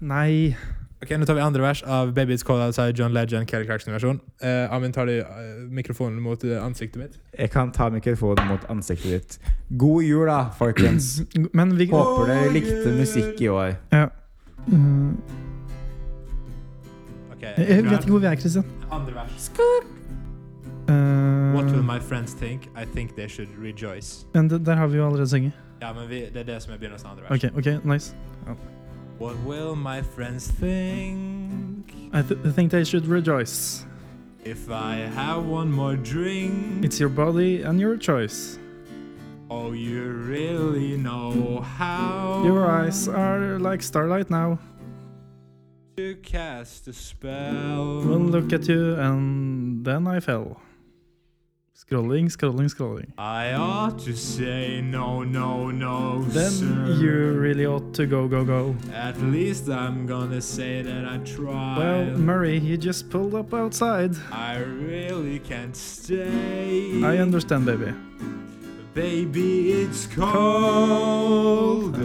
Nei. Ok, Nå tar vi andre vers av Baby's Call Outside, John Legend, Kelly Clarkson-versjon. Eh, Amin, tar du eh, mikrofonen mot eh, ansiktet mitt? Jeg kan ta mikrofonen mot ansiktet ditt. God jul, da, folkens. Men vi Håper dere likte musikk i år. Eh, Ok, Jeg vet ikke hvor vi er, Christian. Andre vers. Eh, What will my friends think? I think they should rejoice. men det, der har vi jo allerede sunget. Ja, men vi, det er det som er begynnelsen av andre vers. Ok, ok, nice. What will my friends think I th I think they should rejoice. if I have one more drink? It's your body and your choice. oh, you really know how Your eyes are like starlight now. to cast a spell. One look at you, and then I fell. Scrolling, scrolling, scrolling. I ought to say no, no, no, Then sir. you really ought to go, go, go. At least I'm gonna say that I tried. Well, Murray, he just pulled up outside. I really can't stay. I understand, baby. Baby, it's cold. Uh,